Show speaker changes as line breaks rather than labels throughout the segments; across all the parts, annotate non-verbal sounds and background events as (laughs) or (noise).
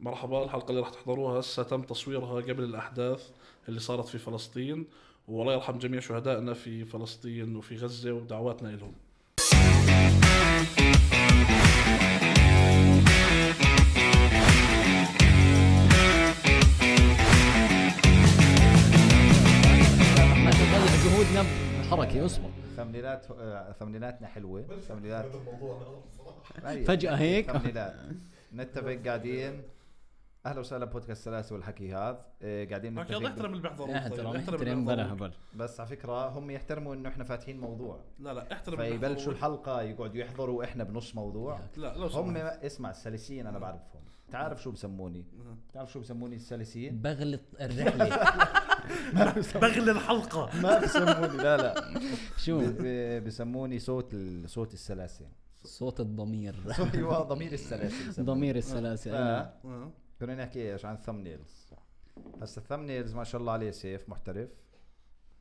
مرحبا الحلقة اللي راح تحضروها هسه تم تصويرها قبل الأحداث اللي صارت في فلسطين والله يرحم جميع شهدائنا في فلسطين وفي غزة ودعواتنا لهم
ما تطلع جهودنا حركه اصبر
ثمنيلات آه، ثمنيلاتنا حلوه ثمنيلات أيوة.
فجأة هيك. (laughs)
ثمنيلات نتفق قاعدين اهلا وسهلا بودكاست سلاسة والحكي هذا آه، قاعدين
لك يلا احترم
نتفق
اللي بيحضروا طيب،
احترم احترم
اللي
بلا
بيحضروا.
هبل
بس على فكره هم يحترموا انه احنا فاتحين موضوع
لا لا احترم اللي بيحضروا.
فيبلشوا الحلقه يقعدوا يحضروا احنا بنص موضوع
لا لو
هم
سمحت
اسمع السلسيين انا بعرفهم تعرف شو بسموني
نعم.
تعرف شو
(laughs)
بسموني السلسيين
بغلط الرحله
بغل الحلقة
ما بسموني لا لا
شو
ب- ب- بسموني صوت ال-
(laughs)
صوت السلاسل
صوت الضمير
ايوه ضمير السلاسل بسموني.
ضمير السلاسل أنا.
ف-
آه.
كنا نحكي ايش عن الثمنيلز هسا الثمنيلز ما شاء الله عليه سيف محترف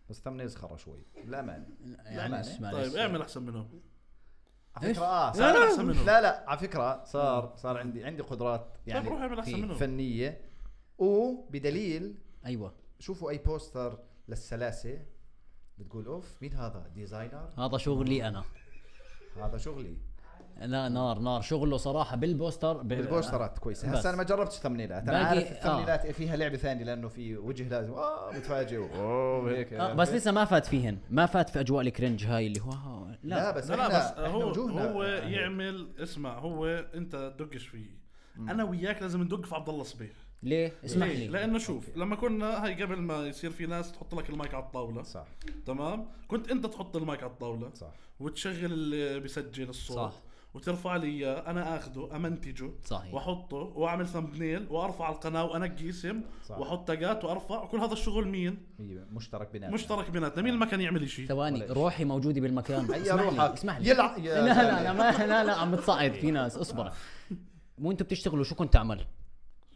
بس الثمنيلز خرا شوي للامانه
يعني معلش
طيب
معلش
اعمل احسن منهم
على
إيش؟
فكره اه
لا، لا،
صار
أحسن منهم.
لا لا على فكره صار صار عندي عندي قدرات
طيب روح
يعني
اعمل احسن
في
منهم
فنيه وبدليل
ايوه
شوفوا اي بوستر للسلاسه بتقول اوف مين هذا ديزاينر
هذا شغلي انا
هذا شغلي
لا نار نار شغله صراحه بالبوستر ب-
البوسترات كويسه
بس.
هسا انا ما جربتش الثمنيلات انا
باقي-
عارف
آه.
الثمنيلات فيها لعبه ثانيه لانه في وجه لازم اه متفاجئ اوه هيك
آه بس لسه ما فات فيهن ما فات في اجواء الكرنج هاي اللي هو لا,
لا, لا بس
لا لا بس
احنا
هو
احنا وجوهنا يعني
هو يعمل اسمع هو انت دقش فيه انا وياك لازم ندق في عبد الله صبيح
ليه اسمح
ليه؟
لي
لانه شوف لما كنا هاي قبل ما يصير في ناس تحط لك المايك على الطاوله
صح
تمام كنت انت تحط المايك على الطاوله
صح
وتشغل اللي بيسجل الصوت
صح.
وترفع لي اياه انا اخذه امنتجه
صحيح.
واحطه واعمل ثمبنيل وارفع على القناه وانقي اسم
صح.
واحط تاجات وارفع كل هذا الشغل مين
هي مشترك
أه.
بيناتنا
مشترك بيناتنا مين اللي ما كان يعمل شيء
ثواني
ولا إشي.
روحي موجوده بالمكان
هيا
اسمح لي،
روحك.
اسمح لي
(laughs) يلع- يا
لا لا
زلمة.
لا ما لا لا عم بتصعد في ناس اصبر وانتم بتشتغلوا شو كنت تعمل؟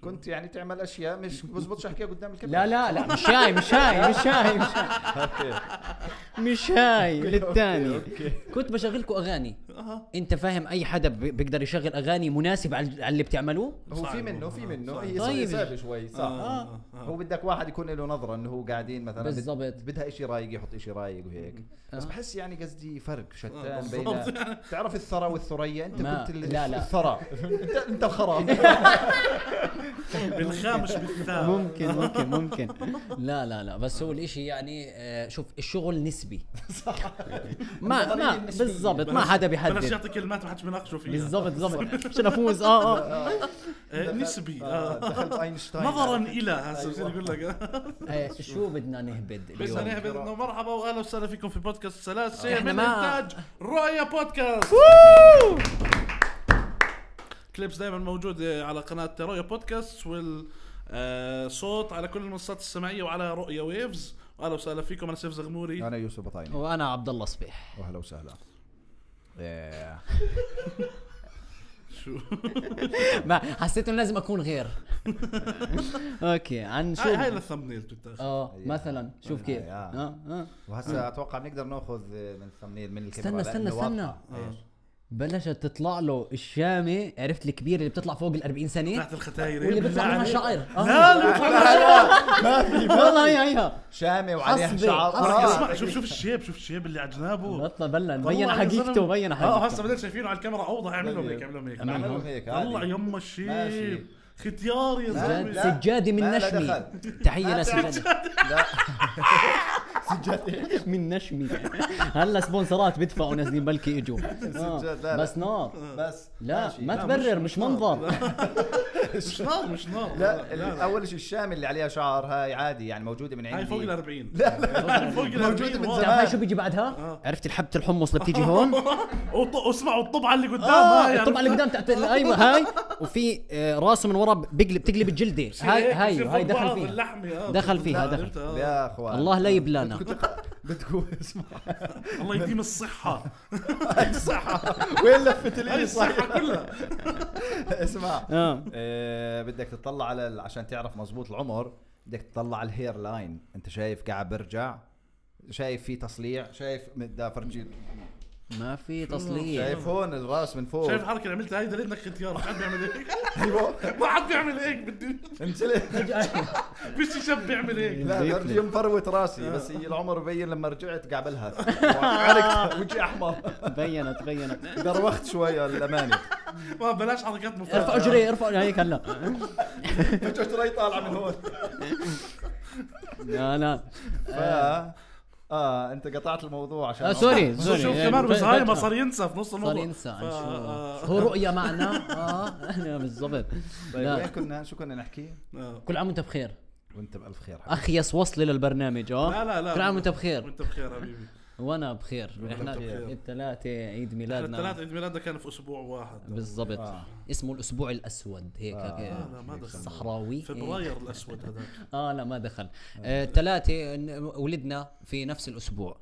كنت يعني تعمل اشياء مش بزبطش احكيها قدام الكاميرا
لا لا لا مش هاي مش هاي مش هاي مش هاي
اوكي
مش هاي للثاني
أوكي،
كنت بشغلكم اغاني
أها.
انت فاهم اي حدا ب- بيقدر يشغل اغاني مناسب على على اللي بتعملوه
(laughs) هو
صعب
في منه في
والله.
منه
صعب.
هي
طيب.
طيب صعبه شوي صح
آه.
آه.
هو بدك واحد يكون له نظره انه هو قاعدين مثلا بد-
بالضبط. آه.
بدها شيء رايق يحط شيء رايق وهيك بس بحس يعني قصدي فرق
آه،
شتان بين
بالضبط.
تعرف الثرى والثريا انت
ما-
كنت ال-
لا، لا.
الثرى انت انت الخراب
بالخامش
(laughs)
بالثامن
ممكن ممكن ممكن لا لا لا بس هو الاشي يعني آه، شوف
(laughs)
الشغل نسبي ما ما
النظرية النسبية.
بالضبط ما حدا
بلاش
بيحدد
يعطي كلمات ما حدش بيناقشوا فيها
بالضبط بالضبط عشان افوز اه اه
آه، نسبي
آه،
آه.
دخلت
طيب.
اينشتاين
نظرا الى هسه
أيوة.
بصير يقول لك آه.
آه، شو بدنا نهبد
بس
اليوم
انا انه مرحبا واهلا وسهلا فيكم في بودكاست سلاسه
إحنا
من
ما-
انتاج رؤيا بودكاست كليبس دائما موجوده على قناه رؤيا بودكاست وال آه، صوت على كل المنصات السمعيه وعلى رؤيا ويفز واهلا وسهلا فيكم انا سيف زغموري
انا يوسف بطايني
وانا عبد الله صبيح
واهلا وسهلا إيه.
شو
ما حسيت انه لازم اكون
(laughs)
غير اوكي عن شو
هاي هاي للثمبنيل بتتاخذ
اه
يا.
مثلا شوف كيف
يا.
اه اه
وهسا اتوقع بنقدر ناخذ من الثمنيل من
استنى،
الكاميرا
استنى،
لأنه
استنى.
واضحة. إيش؟
بلشت تطلع له الشامه عرفت الكبيره اللي بتطلع فوق ال 40 سنه
تحت الختاير يعني
واللي
بالله
بيطلع منها آه.
عليك.
شعر
لا اللي بيطلع منها
والله يعني هي هيها
شامي وعليها
حسبي،
شعر
حسبي.
آه.
اسمع شوف شوف الشيب شوف الشيب اللي على جنابه
بطلع بلا
طلع
مبين
يا
حقيقته
زلمة.
مبين
اه
حقيقته
هسه بدك شايفينه على الكاميرا اوضح اعمل لهم هيك اعمل لهم هيك
أنا أعملهم هيك، عادي.
طلع يما
ماشي.
الشيب ختيار يا
لا،
زلمه
لا.
سجاده من
لا، لا
نشمي
دخل.
تحيه
لا،
لسجاده
لا سجاد
(laughs) من نشمي هلا سبونسرات بدفعوا نازلين بلكي اجوا آه،
سجاد، لا، لا.
بس نار
بس
لا
ماشي.
ما
لا،
تبرر
مش-
مش
مش نار.
منظر
مش نار مش نار
لا, ال- اول شيء الشامي اللي عليها شعر هاي عادي يعني موجوده من عندي
هاي فوق ال 40
لا لا
فوق ال
موجودة
40
من
واو.
تعرف هاي
زمان.
شو بيجي بعدها؟
آه.
عرفت الحبة الحمص اللي بتيجي
(laughs)
هون؟
وط- واسمعوا الطبعه اللي قدام
آه،
اه
هاي يعني
الطبعة اللي
عرفتها؟
قدام تحت ال- ايوه هاي وفي آه، راسه من ورا بقلب تقلب الجلدة
بصير
هاي
هيك،
هاي
بصير
هاي
فوق
دخل
بعض
فيها
اللحمة، آه.
دخل فيها، دخل.
عرفت، آه.
يا اخوان
الله لا يبلانا
بدكم (laughs) اسمع
الله يديم
(laughs)
الصحة هاي الصحة
وين لفت
هاي
اليد صح
الصحة كلها
(laughs) اسمع
آه.
آه، بدك تطلع على ال- عشان تعرف مزبوط العمر بدك تطلع على الهير لاين انت شايف قاعد برجع شايف في تصليع شايف مد- فرجي
ما في (laughs) تصليح
شايف هون الراس من فوق
شايف الحركه اللي عملتها هاي دليل انك اختيار ما حد بيعمل هيك
(laughs) ايوه
ما حد بيعمل هيك بدي (laughs)
انزلق
فيش شاب بيعمل هيك
لا
نظيف لي.
برجي مفروت راسي بس هي العمر بين لما رجعت
(laughs)
(laughs) قعبلها عرقت وجهي احمر
بينت
(laughs)
بينت
دروخت شوي الاماني
ما بلاش حركات
ارفع
مفاجئه
اجري ارفع هيك هلا
فجأة شراي طالعه من هون
لا لا
ف اه انت قطعت الموضوع عشان
آه سوري سوري
شوف
يعني
كمان
ف-
وزهايمر
فجأة.
صار ينسى في نص الموضوع
صار ينسى عن
ف-
شو
آه،
هو رؤية معنا (laughs) اه بالضبط
طيب وين
لا
كنا شو كنا نحكي؟
آه.
كل عام وانت بخير
وانت بالف خير حبيبي
اخيس وصلة للبرنامج اه
لا لا لا
كل عام وانت بخير
وانت بخير
(laughs)
حبيبي
وانا بخير احنا
وأنت بخير.
الثلاثة عيد
الثلاث
ميلادنا
عيد ميلادنا كان في اسبوع واحد
بالضبط
آه.
اسمه الاسبوع الاسود هيك
آه.
هيك.
لا لا ما دخل
صحراوي إيه.
فبراير الاسود هذاك
اه لا ما دخل ثلاثة ولدنا في نفس الاسبوع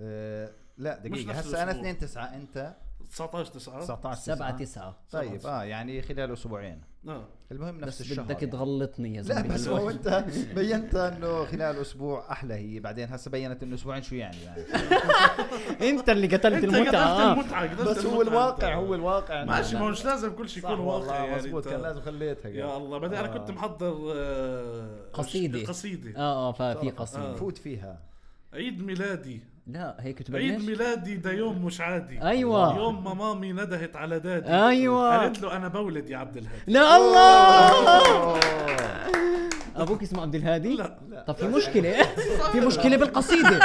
آه، لا
مش
دقيقة
نفس
هسا انا
الأسبوع.
2 9 انت
19 9
19
7 9
طيب اه يعني خلال اسبوعين
اه
المهم نفس
بس
الشهر
بدك
يعني.
تغلطني يا
لا
زلمة (laughs)
بس هو انت بينت انه خلال اسبوع احلى هي بعدين هسه بينت انه اسبوعين شو يعني يعني
انت اللي قتلت
انت قدرت
المتعة آه.
المتعه قدرت
(laughs) بس هو
المتعة
الواقع
أنت.
هو الواقع إنه-
ماشي ما هو مش لازم كل شيء
صح
يكون واقع
والله
يعني
مزبوط
أنت-
كان لازم خليتها
يا الله بعدين انا كنت محضر آه،
قصيدة.
قصيدة
اه اه ففي
صراحة.
آه.
آه.
قصيدة
فوت فيها
عيد ميلادي
لا هيك
عيد
تبلش
ميلادي ده يوم مش عادي
أيوة.
يوم ما مامي ندهت على دادي
أيوة.
قالت له انا بولد يا عبد الهادي
لا الله
آه.
أوه.
ابوك اسمه عبد الهادي
لا.
طب في مشكله في مشكله بالقصيده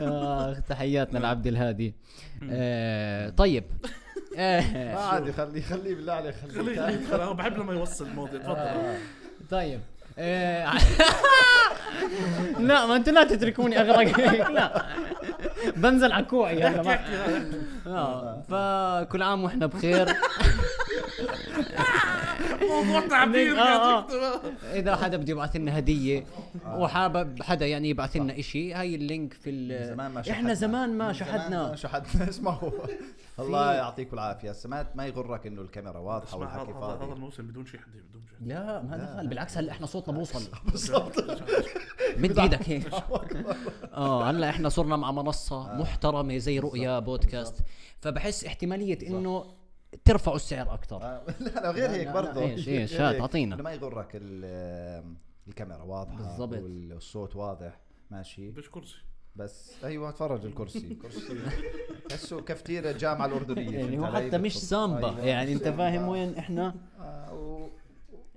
اخ تحياتنا لعبد الهادي آه، طيب
ما
آه،
عادي خليه خليه بالله عليك
خليه
خليه
يدخل انا بحب لما يوصل الموضوع تفضل
طيب آه، (laughs) لا ما انتوا لا تتركوني اغرق هيك (laughs) لا بنزل على كوعي هلا ما- آه، فكل عام واحنا بخير
موضوع تعبير
آه، آه.
قاعد يكتب.
اذا حدا بده يبعث لنا هديه وحابب حدا يعني يبعث لنا شيء هاي اللينك في ال...
زمان ما شحدنا.
احنا زمان ما
من زمان ما
شحدنا
شحدنا (laughs) اسمعوا الله يعطيكم العافيه هسه ما ما يغرك انه الكاميرا واضحه
اسمع هذا
والحكي
هذا- هذا
فاضي
الموسم بدون شحده بدون شحده
لا ما دخل بالعكس هلا احنا صوتنا بوصل
(laughs) بالضبط
(laughs) مد ايدك
(laughs)
هيك اه هلا احنا صرنا مع منصه
آه.
محترمه زي رؤيا بودكاست فبحس احتماليه انه ترفعوا السعر اكثر
آه، (laughs) لا لا غير
لا،
هيك
لا،
برضه
إيش- إيش،
غير
هات،
هيك.
أعطينا.
إنه ما يغرك ال- الكاميرا واضحه
بالضبط.
والصوت واضح ماشي
بدش كرسي
بس ايوه تفرج
(laughs)
الكرسي كرسي تحسه كافتيرا الجامعه الاردنيه
يعني
فهمت
هو
علي؟
حتى مش سامبا
أيوة.
يعني انت فاهم وين احنا
آه، و-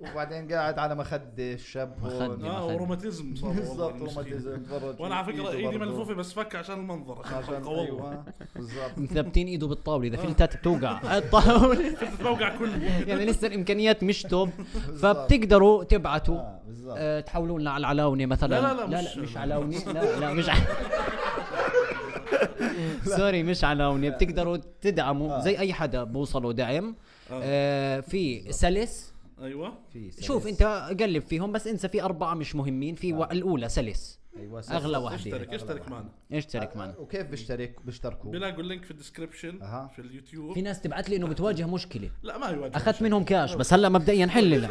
وبعدين قاعد على مخده الشاب
مخدة.
هون
اه
خلي.
وروماتيزم
(laughs)
صار والله
بالضبط
المسكين.
روماتيزم تفرج
وانا على
إيده
فكره ايدي
برضه.
ملفوفه بس فك عشان المنظر عشان
عشان
(laughs) الحلقه والله
ايوه بالضبط
مثبتين ايده بالطاوله
آه.
اذا فلتت بتوقع
(laughs)
الطاوله
كنت بوقع كله
(laughs) يعني لسه الامكانيات مش توب فبتقدروا تبعتوا
آه، بالضبط
آه، تحولوا لنا على العلاوني مثلا
لا لا لا، مش-
مش علاوني لا لا
(laughs)
مش ع- سوري مش علاوني بتقدروا
آه.
تدعموا زي اي حدا بوصلوا دعم آه، في سلس
ايوه
في سلس.
شوف انت قلب فيهم بس انسى في اربعه مش مهمين
آه.
في و- الاولى سلس
ايوه سلس.
اغلى
اشترك
واحده
اشترك معنا
اشترك
آه.
معنا
آه، وكيف بيشترك بيشتركوا
بلاقوا اللينك في الديسكربشن
أها.
في اليوتيوب
في ناس تبعت لي انه بتواجه مشكله
لا ما يواجه
اخذت منهم كاش بس هلا مبدئيا حل
(laughs)
لنا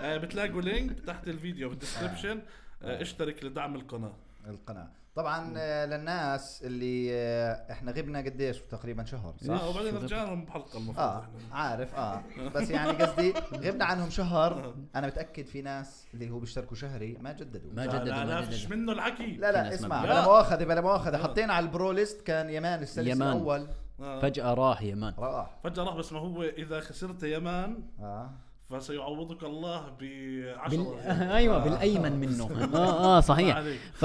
آه بتلاقوا لينك تحت الفيديو في الديسكربشن آه اشترك لدعم القناه
القناه طبعا آه، للناس اللي آه، احنا غبنا قديش تقريبا شهر صح؟
اه وبعدين رجعنا لهم بحلقه المفروض
اه
احنا
عارف اه بس يعني قصدي غبنا عنهم شهر انا متاكد في ناس اللي هو بيشتركوا شهري ما جددوا
لا
ما جددوا
لا لا
ما
فيش
جددوا
منه الحكي
لا
في
لا
ناس
اسمع
ما- آه.
بلا
لا.
مؤاخذه بلا مؤاخذه حطينا على البرو ليست كان يمان السلسله
يمان.
الاول
آه.
فجاه راح يا مان
راح
فجاه راح بس ما هو اذا خسرت يمان
اه
فسيعوضك الله يعني. ب 10
بال... (laughs) ايوه بالايمن
(laughs)
منه اه اه صحيح
ما عليك.
ف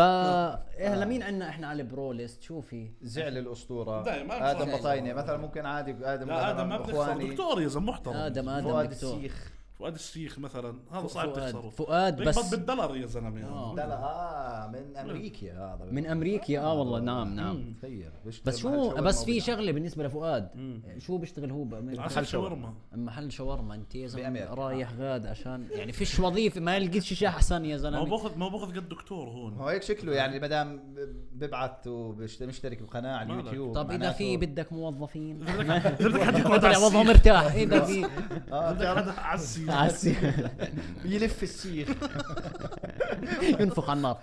هلا مين عندنا احنا على البرو ليست شوفي
زعل الاسطوره
لا، ما بصير.
ادم بطاينه مثلا ممكن عادي ادم
لا ادم ما بتخسر
اخواني
دكتور يا زلمه محترم
ادم ادم
فؤاد
دكتور
السيخ
فؤاد الشيخ مثلا هذا صعب
فؤاد
تخسره
فؤاد
بس
بس
بالدولار يا زلمه
آه.
لا لا اه من امريكا هذا
من امريكا اه والله نعم نعم
تخيل بيشتغل
بس
محل
شو
شاورما
بس في
وبيع.
شغله بالنسبه لفؤاد شو بيشتغل هو بامريكا
عسل شاورما
محل شاورما انت يا زلمه
بأمريكا.
رايح غاد عشان يعني فيش وظيفه ما لقيتش شيء احسن يا
ما هو
زلمه
باخذ ما هو باخذ قد دكتور هون
آه.
(laughs)
هو هيك شكله
آه.
يعني ما دام ببعث ومشترك بقناه على
مالك.
اليوتيوب
طب اذا
معناته-
في بدك موظفين
إذا بدك- إذا بدك حد يقعد على
طلع (laughs) وضعه
السيخ
مرتاح اذا في
إذا
اه
بدك
بتعرف
حد على السيخ
(laughs) عسي-
يلف السيخ
ينفخ على النار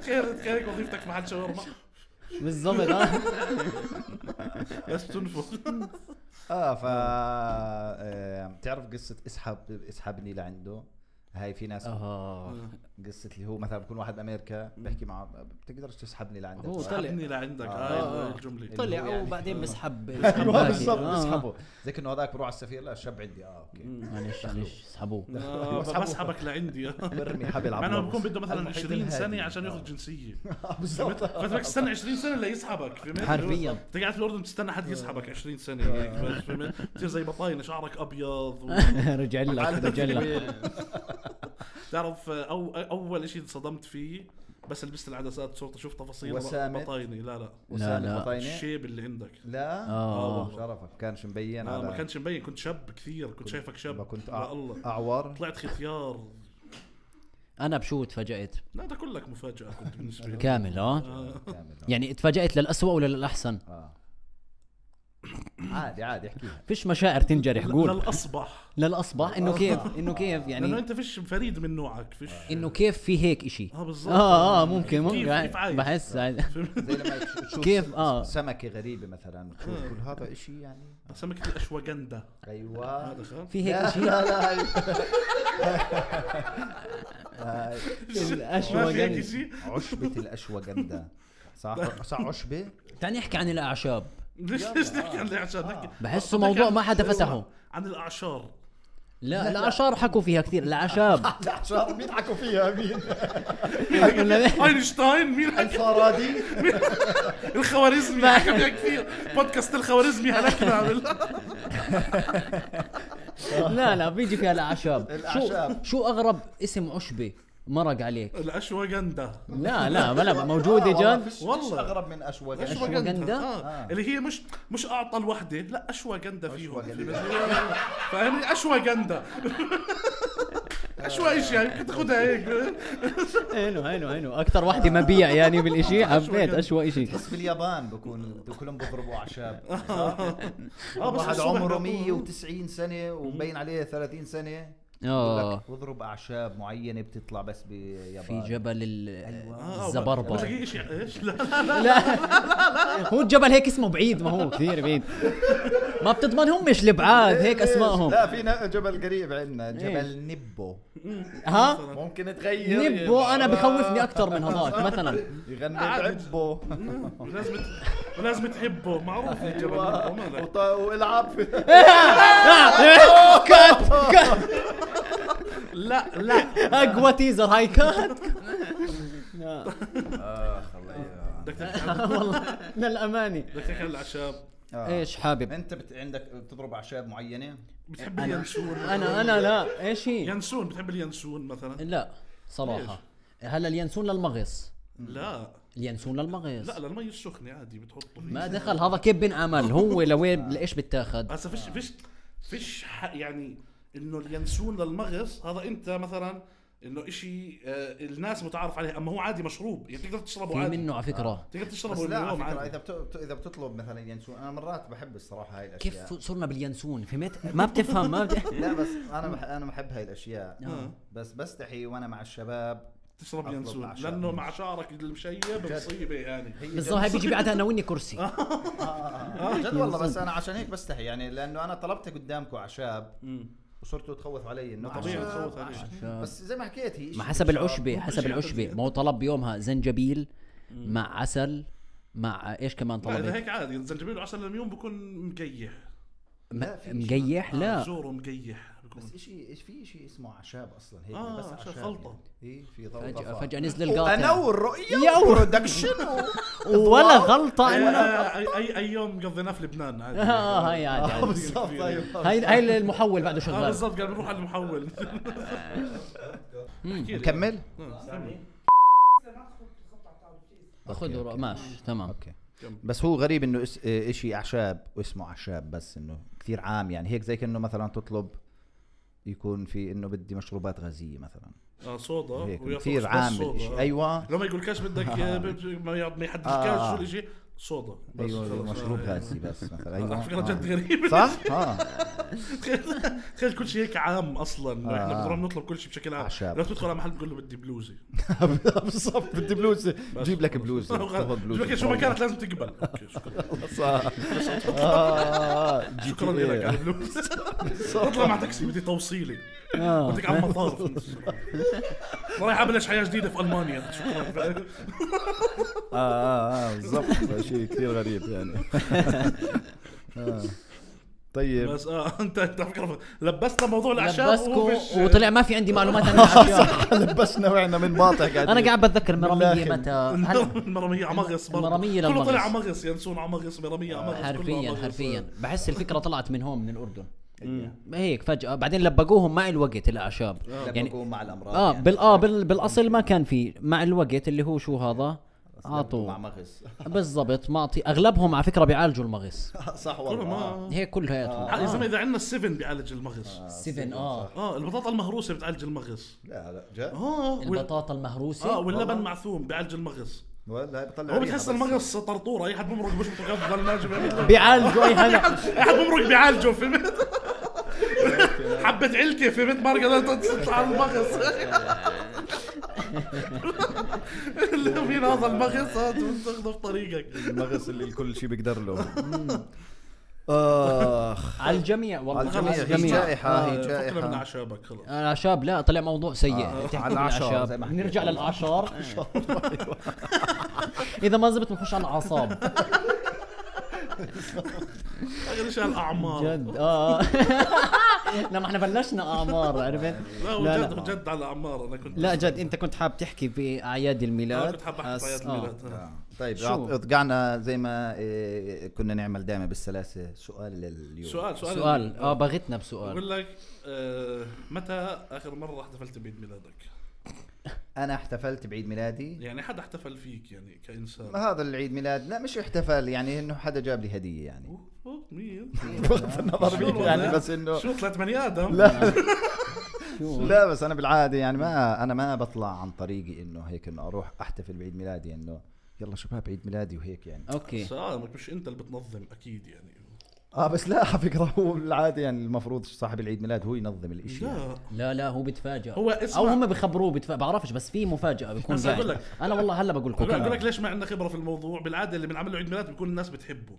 تخيل تخيلك وظيفتك في محل شاورما
بالضبط اه
بس
(laughs)
تنفخ
اه ف آه، بتعرف قصه اسحب اسحبني لعنده هاي في ناس
آه.
قصه اللي هو مثلا بكون واحد امريكا بيحكي معه بتقدرش تسحبني لعندك
هو طلع.
سحبني لعندك
آه.
هاي الجمله
(laughs) طلع
يعني.
وبعدين بسحب
ايوه
باقي.
بالضبط
(laughs) آه.
اسحبه زي انه هذاك بروح على السفير لا الشاب عندي اه (laughs) اوكي
معلش معلش اسحبوه
آه،
أسحبه.
بسحبك
(laughs)
لعندي
برمي حبل
مع
على
انه
النص.
بكون بده مثلا
المحيط
20
الهادي.
سنه عشان
آه.
ياخذ جنسيه
آه، بالضبط
فبدك تستنى 20 سنه ليسحبك فهمت؟
حرفياً. (laughs) آه.
انت قاعد في الاردن تستنى حد يسحبك 20 سنه هيك، فهمت؟ بتصير زي بطاينه شعرك ابيض
(laughs)
و...
رجع لك رجع
(laughs)
(laughs)
لك
تعرف أو اول شيء انصدمت فيه بس لبست العدسات صرت اشوف تفاصيل
وسامت.
بطاينه لا لا
وسام
لا.
الفطينه
الشيب اللي عندك
لا
اه
والله.
شرفك كانش مبين
لا
على
ما كانش مبين كنت شاب كثير كنت شايفك شاب
كنت
آه.
لا الله
أع- اعور
طلعت ختيار
انا بشو تفاجات
لا ده كلك مفاجاه كنت بالنسبه
(laughs)
لي
كامل اه
كامل آه.
يعني تفاجات للأسوأ ولا للاحسن
اه عادي عادي احكيها
فيش مشاعر تنجرح قول
للاصبح
للاصبح انه كيف انه كيف
لانه
يعني
انت فيش فريد من نوعك فيش
انه كيف في هيك اشي
اه بالظبط
اه اه ممكن ممكن
كيف كيف
عادي.
عايش
بحس عادي.
زي لما تشوف
كيف؟ آه.
سمكه غريبه مثلا
آه.
تقول هذا اشي يعني
سمكه الاشواجندا
ايوه
هذا
(laughs)
خلاص
في هيك
لا
اشي
لا لا
ما
هاي- هاي
في هيك
الاشواجندا
شيء
عشبة الاشواجندا صح صح عشبة
تعال نحكي عن الاعشاب
ليش ليش نحكي عن الاعشاب نحكي
بحسه
بدك
موضوع
عن-
ما حدا فتحه
عن الاعشار
لا الاعشاب حكوا فيها كثير الاعشاب
(laughs) الأعشاب بيضحكوا فيها مين
(laughs) اينشتاين مين
(laughs)
حكى
الفارادي
الخوارزمي حكى فيها كثير بودكاست الخوارزمي هلكنا
لا لا بيجي فيها الاعشاب شو
الأعشاب.
شو اغرب اسم عشبه مرق عليك
الاشواجندا
لا لا بلا موجوده جد
والله.
آه، والله اغرب من اشواجندا
اشواجندا
أشواجندا؟
آه. اللي هي مش مش اعطل وحده لا اشواجندا فيهم
أشواجندا.
(laughs) فاهمني اشواجندا اشوا ايش يعني تاخذها هيك آه،
هينو هينو هينو اكثر وحده مبيع يعني بالاشي حبيت اشوى اشي
بس باليابان بكون كلهم بيضربوا (laughs) اعشاب
اه بس
واحد
الصبح
عمره
بيقوم.
190 سنه ومبين عليه 30 سنه
اه.
بقول لك اضرب اعشاب معينه بتطلع بس
في
باليابان
جبل ال-
آه، بس
الزبربر
هي إيش- ايش لا لا
هو الجبل هيك اسمه بعيد ما هو كثير بعيد ما بتضمنهم مش الابعاد آه، هيك اسمائهم
إيه، لا في ن- جبل قريب عندنا جبل
إيه.
نبو
ها
ممكن تغير
نبو انا بخوفني
بخوفني
اكثر من هذاك مثلا
يغني
عادي.
بعبو
لازم ت- لازم تحبه معروف الجبل مالك.
(laughs) وط- والعب في-
كات كات
لا لا
اقوى تيزر هاي كات
آه،
بدك تحكي عن-
والله للامانه
بدك تحكي عن العشاب
ايش حابب
انت آه. بت... عندك بتضرب اعشاب معينه
بتحب اليانسون
انا انا لا ايش هي
ينسون بتحب اليانسون مثلا
لا
ليش؟
صراحه هلا اليانسون للمغص
لا
اليانسون للمغص
لا للمي السخنه عادي بتحطه فيه.
ما دخل هذا كيف بنعمل هو لوين لايش بتاخد
هسا فيش فيش فيش ح- يعني انه اليانسون للمغص هذا انت مثلا انه اشي آه، الناس متعارف عليه اما هو عادي مشروب يعني بتقدر تشربه
في
عادي
منه على فكره
بتقدر
بس
تشربه
لا على
اليوم
فكره اذا
عادي
بت... بت- اذا بتطلب مثلا ينسون انا مرات بحب الصراحه هاي الاشياء
كيف صرنا باليانسون فهمت ما بتفهم
(laughs)
ما بت...
لا بس انا بح... انا بحب هاي الاشياء
نعم.
آه.
بس بستحي وانا مع الشباب
تشرب
أطلب
ينسون
مع شعر.
لانه مع شعرك المشيب مصيبه يعني
هي
بالضبط هاي بيجي بعدها ناولني
آه.
كرسي
آه،
جد, جد والله بس انا عشان هيك بستحي يعني لانه انا طلبت قدامكم اعشاب
مم.
وصرتوا تخوثوا علي انه
طبيعي
أعشاب،
تخوث عليك.
أعشاب. بس زي ما حكيت هي
ما
شيء
حسب
بالشراب.
العشبه حسب العشبه ما هو طلب بيومها زنجبيل مع عسل مع ايش كمان
لا اذا
طلبت
هيك عادي الزنجبيل وعسل اليوم بكون مقيح
م-
لا، في شيء.
مقيح
آه،
لا
زوره مقيح بكون
بس شيء في شيء اسمه اعشاب اصلا هيك
آه،
بس
أعشاب
اعشاب
خلطة.
اي في
فجأة,
ضوء
فجأة نزل
انا
القاطع
والرؤيه
يا
والبرودكشن
(laughs) ولا غلطة انه
آه، أي- اي اي يوم قضيناه في لبنان
(laughs)
عادي
اه هاي عادي
آه،
عادي.
بالضبط أيوة.
هاي هاي المحول بعده
اه
شغال
بالضبط قال بنروح على
(laughs)
المحول احكي لي.
نكمل
آه، كمل.
خذوا رأ- ماشي تمام
اوكي بس هو غريب انه اس... إيه، اشي اعشاب واسمه اعشاب بس انه كثير عام يعني هيك زي كانه مثلا تطلب يكون في انه بدي مشروبات غازيه مثلا
اه صودا
هيك
ويا
كثير
فوكس بس
عام
صودا.
الاشي
آه.
ايوه
(laughs) لو ما يقولكاش بدك ما يقعد- ما يحددش
آه.
شو الشيء صودا بس
ايوه
خلص.
مشروب
آه،
غازي بس مثلا
آه، (laughs)
ايوه
على فكره
آه.
جد غريبه
صح؟ اه
تخيل- (laughs) تخيل كل شيء هيك عام اصلا احنا
آه.
بنروح نطلب كل شيء بشكل عام
أعشاب.
لو تدخل على محل بتقول له بدي بلوزه
(laughs) بالضبط بدي بلوزه جيب
(laughs)
لك بلوزه تفضل
بقول لك شو ما كانت لازم تقبل اوكي شكرا (laughs)
صح آه، آه، جي تي
شكرا
إيه.
لك على
(laughs)
البلوزه اطلع مع تاكسي بدي توصيلي
آه.
بدك على
(laughs)
المطار رايح ابلش حياه جديده في المانيا شكرا
اه اه اه بالضبط شيء كثير غريب يعني (laughs) آه. طيب
بس اه انت انت على فكره لبسنا موضوع الاعشاب وهو فيش-
لبسكم وطلع ما في عندي معلومات
(laughs)
عن الأعشاب.
لبسنا وعنا من باطح قاعدين
انا قاعد بتذكر مرميه
بالله.
متى هلا
المرمية عمغص برضه
المرمية
كله طلع
للمغص.
عمغص ينسون عمغص مرمية عمغص كله
حرفيا
عمغص.
حرفيا بحس الفكره طلعت من هون من الاردن هيك فجاه بعدين لبقوهم مع الوقت الاعشاب يعني
لبقوه مع الامراض
اه
آه، يعني.
بال اه بال بالاصل ما كان في مع الوقت اللي هو شو هذا
لبقوه
اعطوا
مع مغص (laughs)
بالضبط معطي اغلبهم على فكره بيعالجوا المغص
صح
كله
والله آه. آه.
ما
هيك كلياتهم
يا زلمه اذا عندنا السفن بيعالج المغص
سفن اه
اه البطاطا المهروسه بتعالج المغص
لا لا جاء
اه وال-
البطاطا
اه
المهروسه
واللبن
والله.
معثوم بيعالج المغص
ولا هاي بطلع
هو
ريحة
بتحس
بس.
المغص طرطوره اي حد بمرق بشبطه كف ضل ناجم
بيعالجوا اي
(laughs)
حدا
اي حد بمرق بيعالجه فهمت حبة علكة فهمت ما قدرت تطلع على المغص اللي فين هذا المغص هذا بتاخذه بطريقك
المغص (laughs) اللي الكل شيء بيقدر له
(laughs)
اخ
على الجميع والله
على الجميع.
خلص
هي
الجميع.
جائحة، هي
آه.
جائحة.
فقرة من اعشابك خلص
الاعشاب لا طلع موضوع سيء
آه.
تحكوا
على الأعشاب،
بالأعشاب.
زي ما حكيت.
نرجع (laughs)
(laughs)
للاعشار اذا ما زبط بنخش على الاعصاب
اخر شيء الاعمار
جد اه
(laughs)
(laughs) لا ما احنا بلشنا اعمار عرفت
لا
لا،
وجد
لا.
جد على اعمار انا كنت
لا جد انت كنت حاب تحكي باعياد
انا
الميلاد
كنت حاب احكي في
أس-
عيد
آه.
الميلاد آه.
طيب
شو؟
أعط- اطقعنا زي ما إيه، كنا نعمل دائما بالسلاسه سؤال لليوم
سؤال سؤال آه.
سؤال اه باغتنا بسؤال
بقول لك آه، متى اخر مره احتفلت بعيد ميلادك؟
انا احتفلت بعيد ميلادي
يعني حدا احتفل فيك يعني كانسان
ما هذا العيد ميلاد لا مش احتفال يعني انه حدا جاب لي
(laughs)
هديه يعني
أوه، أوه، مين؟
بغض (laughs) النظر
شو
مين
الوضع؟
يعني بس انه
شو ثلاث بني ادم؟
لا
(laughs) شو
لا بس انا بالعاده يعني ما انا ما بطلع عن طريقي انه هيك انه اروح احتفل بعيد ميلادي انه يلا شباب عيد ميلادي وهيك يعني
اوكي
سلامك مش انت اللي بتنظم اكيد يعني
اه بس لا على فكره هو بالعاده يعني المفروض صاحب العيد ميلاد هو ينظم الاشي يعني.
لا
لا لا هو بيتفاجئ
هو اسمع-
او هم بخبروه بتف... بعرفش بس في مفاجاه بيكون
بس أقول
قاعد.
لك.
انا والله هلا بقول لكم
بقول بقول
كمل.
لك ليش ما عندنا خبره في الموضوع بالعاده اللي بنعمل له عيد ميلاد بيكون الناس بتحبه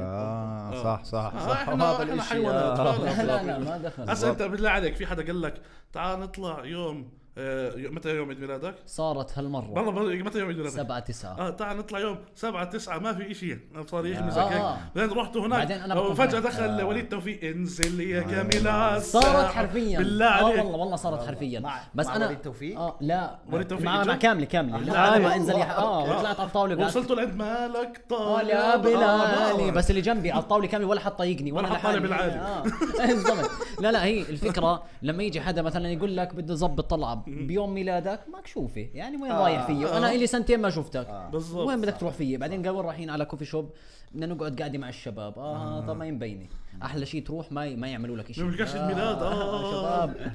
اه صح صح
آه،
صح
إحنا- إحنا
هذا الاشي
حيوانات.
آه.
لا،
لا لا لا ما دخل
هسا انت بالله عليك في حدا قال لك تعال نطلع يوم آه، يوم- متى يوم عيد ميلادك؟
صارت هالمره
والله متى يوم عيد ميلادك؟
سبعة تسعة
اه تعال نطلع يوم سبعة تسعة ما في اشي صار يخمي
آه.
زكاك بعدين رحت هناك
بعدين أنا بكون
وفجأة
هناك.
دخل وليد توفيق انزل يا كامل على الساعة.
آه. صارت حرفيا
بالله
اه
عليك
والله والله صارت حرفيا
مع-
بس
مع
انا
وليد توفيق؟
اه لا
وليد توفيق
مع مع
إجا؟
كاملة كاملة
بالله
لا
عليك.
ما انزل يا- اه طلعت على الطاولة وقعدت
وصلت لعند مالك
اه
طالع
يا بلالي
بس
آه. يعني بس اللي جنبي على الطاوله كامله ولا حد طايقني ولا
ولا حد طالع
لحالي.
بالعالي.
اه (laughs) بالضبط لا لا هي الفكره لما يجي حدا مثلا يقول لك بده ظبط طلعه بيوم ميلادك ماك شوفه يعني وين رايح فيه وانا لي سنتين ما شفتك
آه. بالضبط.
وين بدك تروح فيه بعدين قالوا رايحين على كوفي شوب بدنا نقعد قاعده مع الشباب اه طب ما ينبيني احلى شيء تروح ما ما يعملوا لك شيء
آه. ما بيلقاش عيد ميلاد اه
شباب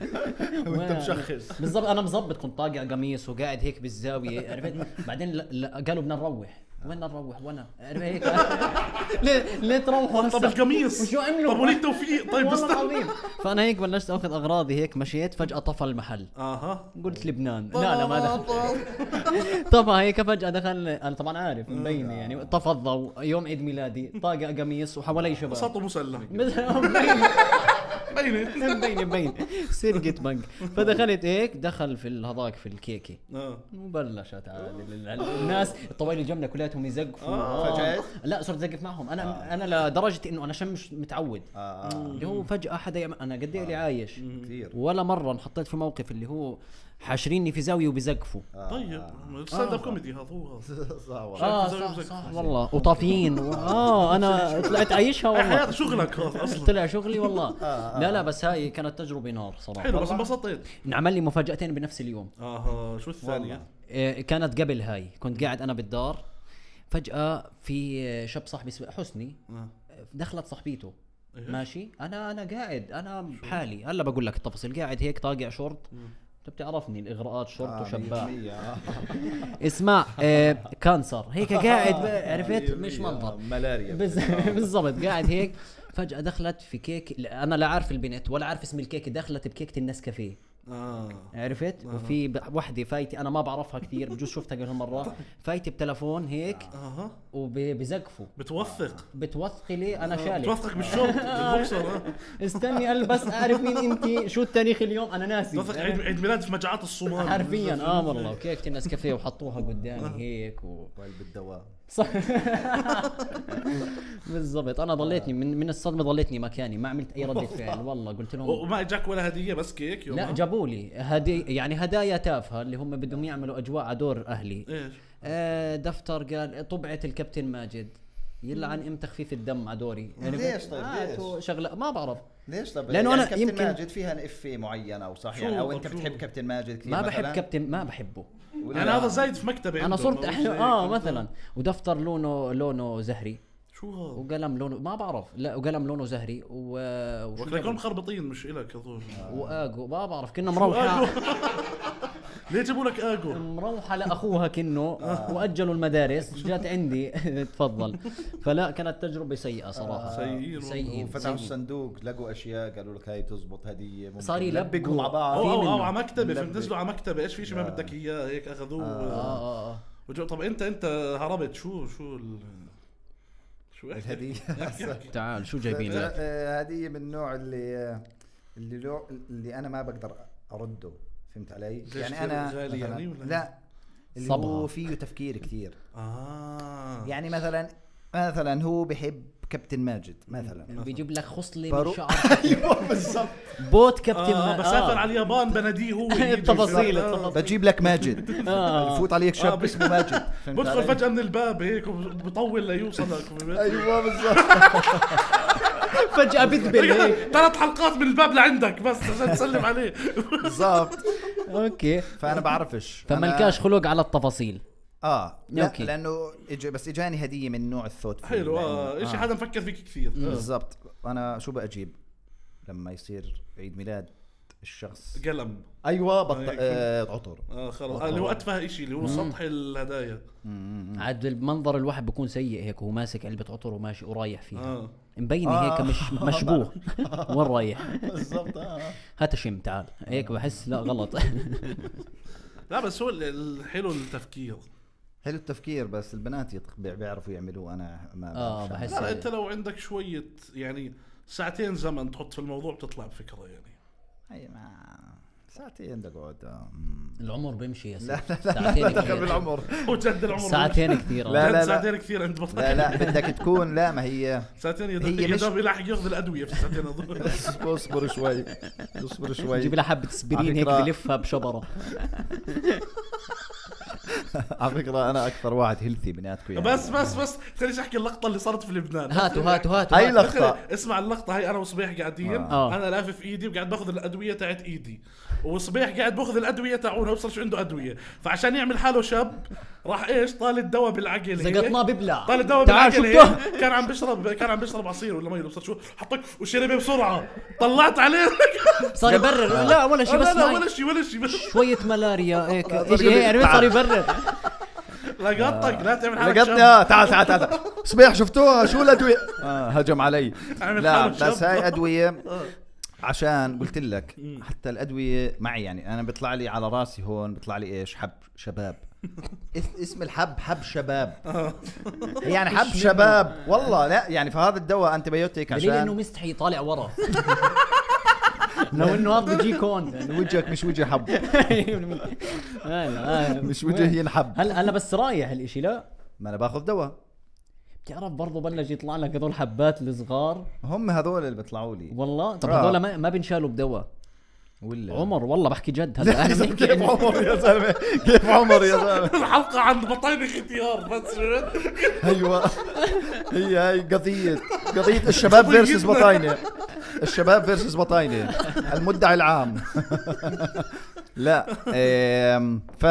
وانت
مشخص.
بالضبط انا مظبط كنت طاقع قميص وقاعد هيك بالزاويه عرفت بعدين ل- ل- قالوا بدنا نروح وين بدنا نروح وانا عرفت هيك (laughs) ليه ليه تروحوا هسه؟
طب القميص
وشو عملوا؟
طب وليد توفيق طيب
والله
استنى
العظيم فانا هيك بلشت اخذ اغراضي هيك مشيت فجاه طفى المحل
اها
قلت لبنان لا لا ما دخل طفى هيك فجاه دخل انا طبعا عارف مبينه يعني طفى الضوء يوم عيد ميلادي طاقع قميص وحوالي شباب (laughs)
وسطه مسلح
مثل- مبينة. (laughs)
مبينة
مبين مبين سرقة بنك فدخلت هيك دخل في ال- هذاك في الكيكه
اه
وبلشت عادي ال- ال- الناس الطوالي الجنب كلياتهم يزقفوا آه.
فجأة؟
لا صرت زقف معهم انا انا لدرجه انه انا شم مش متعود
آه، آه.
اللي هو فجاه حدا يعمل انا قد ايه اللي عايش
كثير
ولا مره انحطيت في موقف اللي هو حاشريني في زاويه وبزقفوا
طيب ستاند اب كوميدي هذا هو هذا
آه، (laughs) صح والله
اه
زاوية
صح
وبزقفوا.
صح والله وطافيين و- اه انا طلعت عايشها
هاي
والله
(laughs) حياتك شغلك هذا اصلا
طلع شغلي والله لا لا بس هاي كانت تجربه نار صراحه
حلو بس انبسطت
انعمل لي مفاجاتين بنفس اليوم
اها شو الثانية؟
إيه، كانت قبل هاي كنت قاعد انا بالدار فجاه في إيه، شاب صاحبي اسمه حسني
آه.
دخلت صاحبيته
إيه.
ماشي انا انا قاعد انا بحالي هلا بقول لك التفاصيل قاعد هيك طاقع شورت طيب انت بتعرفني الاغراءات شرط
آه،
وشباب
100%. آه.
اسمع آه، كانسر هيك قاعد ب- عرفت
100%.
مش منظر
ملاريا
بز- (laughs) بالضبط قاعد هيك فجاه دخلت في كيك لا، انا لا عارف البنت ولا عارف اسم الكيك دخلت بكيكه النسكافيه
اه
عرفت وفي ب- وحده فايتي انا ما بعرفها كثير بجوز شفتها قبل مره
(laughs)
فايتي بتلفون هيك
نعم. اها
وبزقفوا
بتوثق
بتوثقي لي انا شالك
آه، بتوثق
(laughs)
بالشورت بالبوكسر آه.
استني البس اعرف مين انت شو التاريخ اليوم انا ناسي
بتوثق عيد عيد ميلاد في مجاعات الصومال
حرفيا اه والله وكيكه النسكافيه وحطوها
آه.
قدامي هيك و...
وال بالدوام
صح (laughs) بالضبط انا ضليتني من من الصدمه ضليتني مكاني ما عملت اي رده
(laughs)
فعل والله قلت
و-
لهم
وما اجاك ولا هديه بس كيك يومها
لا جابوا لي هدي يعني هدايا تافهه اللي هم بدهم يعملوا اجواء على دور اهلي
ايش
آه، دفتر قال طبعه الكابتن ماجد يلعن ام تخفيف الدم على دوري
ليش طيب؟
آه،
هاتوا
ليش؟
شغله ما بعرف
ليش طب
لأنه
يعني
أنا
كابتن
يمكن-
ماجد فيها إيه افه معينه او صح
شو
يعني او
طب
انت
شو؟
بتحب كابتن ماجد كثير
ما بحب
مثلاً؟
كابتن ما بحبه
ولا
انا هذا زايد في مكتبي
انا
عنده،
صرت
ما هو
احلى
زيك.
اه مثلا ودفتر لونه لونه زهري
شو هذا؟
وقلم لونه ما بعرف لا وقلم لونه زهري و وشو
وكلكم
قبل؟
مخربطين مش الك اظن
واجو ما بعرف كنا
آجو.
مروحه
آه. (laughs) ليه جابوا لك اجو؟
مروحه لاخوها كنه واجلوا المدارس جات عندي (laughs) تفضل فلا كانت تجربه سيئه صراحه
سيئين والله.
سيئين
وفتحوا
سيئين.
الصندوق لقوا اشياء قالوا لك هاي بتزبط هديه ممكن
صار يلبقوا.
لبقوا مع
او
بعض
في
او او
منه.
آه، على مكتبه
ملبي.
فهمت نزلوا على مكتبه ايش في شيء ما
آه.
بدك اياه هيك اخذوه
اه
آه.
اه اه
طب انت انت هربت شو شو ال... شو احكي؟ (laughs)
الهديه
تعال شو جايبين لك
آه، هديه من النوع اللي آه، اللي لو اللي انا ما بقدر ارده فهمت علي؟
ليش
يعني
كثير
انا
غالي
مثلاً-
يعني ولا؟
لا اللي
صبغة.
هو فيه تفكير كثير
اه (laughs)
يعني مثلا مثلا هو بحب كابتن ماجد مثلا
بيجيب لك خصله
برو-
من شعر
ايوه بالضبط
بوت كابتن
أيوة، آه
ما-
بسافر على اليابان بناديه هو يجي.
التفاصيل
آه.
التفاصيل
بجيب لك ماجد بفوت عليك شاب اسمه ماجد فهمت
آه. بدخل
علي؟
فجاه من الباب هيك وبطول ليوصلك (laughs)
ايوه بالضبط
فجاه بدبل هيك
ثلاث حلقات من الباب لعندك بس عشان تسلم عليه
(laughs)
(laughs)
بالضبط
اوكي
فانا بعرفش أنا-
فملكاش خلق على التفاصيل
اه لا
أوكي.
لانه إج... بس اجاني هديه من نوع الثوت آه،
حلو اه شيء حدا مفكر فيك كثير آه.
بالضبط انا شو بجيب لما يصير عيد ميلاد الشخص
قلم
ايوه بط...
هيك.
آه عطر
اه خلص آه اللي هو اتفه شيء اللي هو سطح الهدايا
عاد المنظر الواحد بيكون سيء هيك وهو ماسك علبه عطر وماشي ورايح فيها
اه
مبينه
آه. (laughs)
هيك مش مشبوه وين رايح
بالضبط اه
هات شم تعال هيك بحس لا غلط (laughs)
لا بس هو ال- الحلو التفكير
حلو التفكير بس البنات يتق... بي- بيعرفوا يعملوه انا ما
آه،
بعرفش
بحس-
أعمل.
لا انت لو عندك شويه يعني ساعتين زمن تحط في الموضوع بتطلع بفكره يعني (laughs)
هي ما ساعتين بقعد آه، مم.
العمر بيمشي يا
لا
سيدي
لا لا لا دخل
كثير.
بالعمر
هو جد العمر
ساعتين كثير
لا،
لا لا
آه.
لا.
ساعتين كثير عند بطل
لا لا بدك تكون لا ما هي
ساعتين يا
هي
دوب- يا
مش-
دوب يلحق ياخذ الادويه في الساعتين
(laughs)
هذول
اصبر شوي اصبر شوي
جيب لها حبه
على
سبرين هيك
فكرة-
بلفها بشبره
على فكره انا اكثر واحد هيلثي بيناتكم يعني
بس بس بس خليني احكي اللقطه اللي صارت في لبنان
هاتوا هاتوا
(laughs)
هاتوا
هاي
هاتوا.
لقطه
اسمع اللقطه هاي انا وصبيح قاعدين
آه.
انا لافف ايدي وقاعد باخذ الادويه تاعت ايدي وصبيح قاعد باخذ الادويه تاعونه وصلش عنده ادويه فعشان يعمل حاله شاب راح ايش طال الدواء بالعقل هيك.
زقطناه ببلع
طال الدواء
تعال
بالعقل
شو بتوع-
هيك. كان عم بيشرب كان عم بيشرب عصير ولا مي وصلت شو حطك وشربه بسرعه طلعت
(laughs)
عليه
صار يبرر
آه.
لا ولا شيء بس
لا لا
مي.
ولا شيء ولا شيء بس
شوية ملاريا هيك
صار
ايش
يقول لي
يعني صار
تعال.
يبرر
لقطك لا تعمل حالك
لقطني
شاب
اه تعال تعال تعال صبيح شفتوها شو الادويه آه هجم علي
عامل
لا
حاله
بس
شاب.
هاي ادويه عشان قلت لك حتى الادويه معي يعني انا بيطلع لي على راسي هون بيطلع لي ايش حب شباب اس- اسم الحب حب شباب (laughs) يعني حب شباب والله لا يعني فهذا الدواء انتبيوتيك
دليل انه
عشان
مستحي طالع
(laughs)
ورا لو انه هذا بيجي كون
وجهك مش وجه حب (laughs) مش وجه ينحب
آه. هلا هلا بس رايح الاشي لا
ما انا باخذ دواء
بتعرف برضه بلش يطلع لك هذول حبات الصغار
هم هذول اللي بيطلعوا لي
والله طب
آه.
هذول ما, ما بنشالوا بدواء
ولا
عمر والله بحكي جد هلا احنا بنحكي (laughs)
(laughs) كيف
إنه-
عمر يا زلمه كيف عمر يا زلمه
الحلقه عند بطين اختيار بس شو- (laughs)
ايوه هي هاي قضية قضية الشباب فيرسز بطاينة الشباب فيرسز بطاينة المدعي العام (laughs) لا آم، ف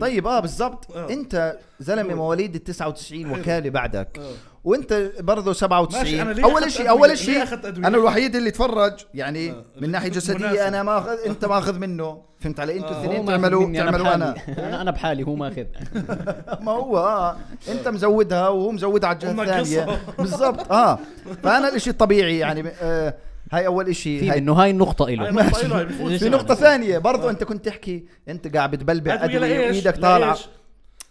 طيب اه بالضبط
آه.
انت زلمه مواليد ال 99 وكاله بعدك وانت برضه 97
آه. ماشي، أنا ليه أخذت
اول شيء
أدوية؟
اول
ليه
شيء
أخذت أدوية؟
انا الوحيد اللي اتفرج يعني
آه، (laughs)
من ناحيه
مناسب.
جسديه انا ماخذ انت ماخذ منه فهمت علي انتوا
آه.
هو
الاثنين
ماخذ
تعملوا
مني،
تعملوا انا
بحالي. انا انا بحالي هو
(laughs)
ماخذ
ما هو آه. انت مزودها وهو مزودها على الجهه
ومنقصها.
الثانيه (laughs) بالضبط اه فانا الاشي الطبيعي يعني آه هاي اول اشي
في
هاي
منه هاي النقطه
هاي
له
نقطة إله، بفوت
في
في
فيها.
نقطة ثانية برضو انت كنت تحكي انت قاعد بتبلبع
أدوية
ادوية
لإيش؟
وايدك طالعة
لإيش؟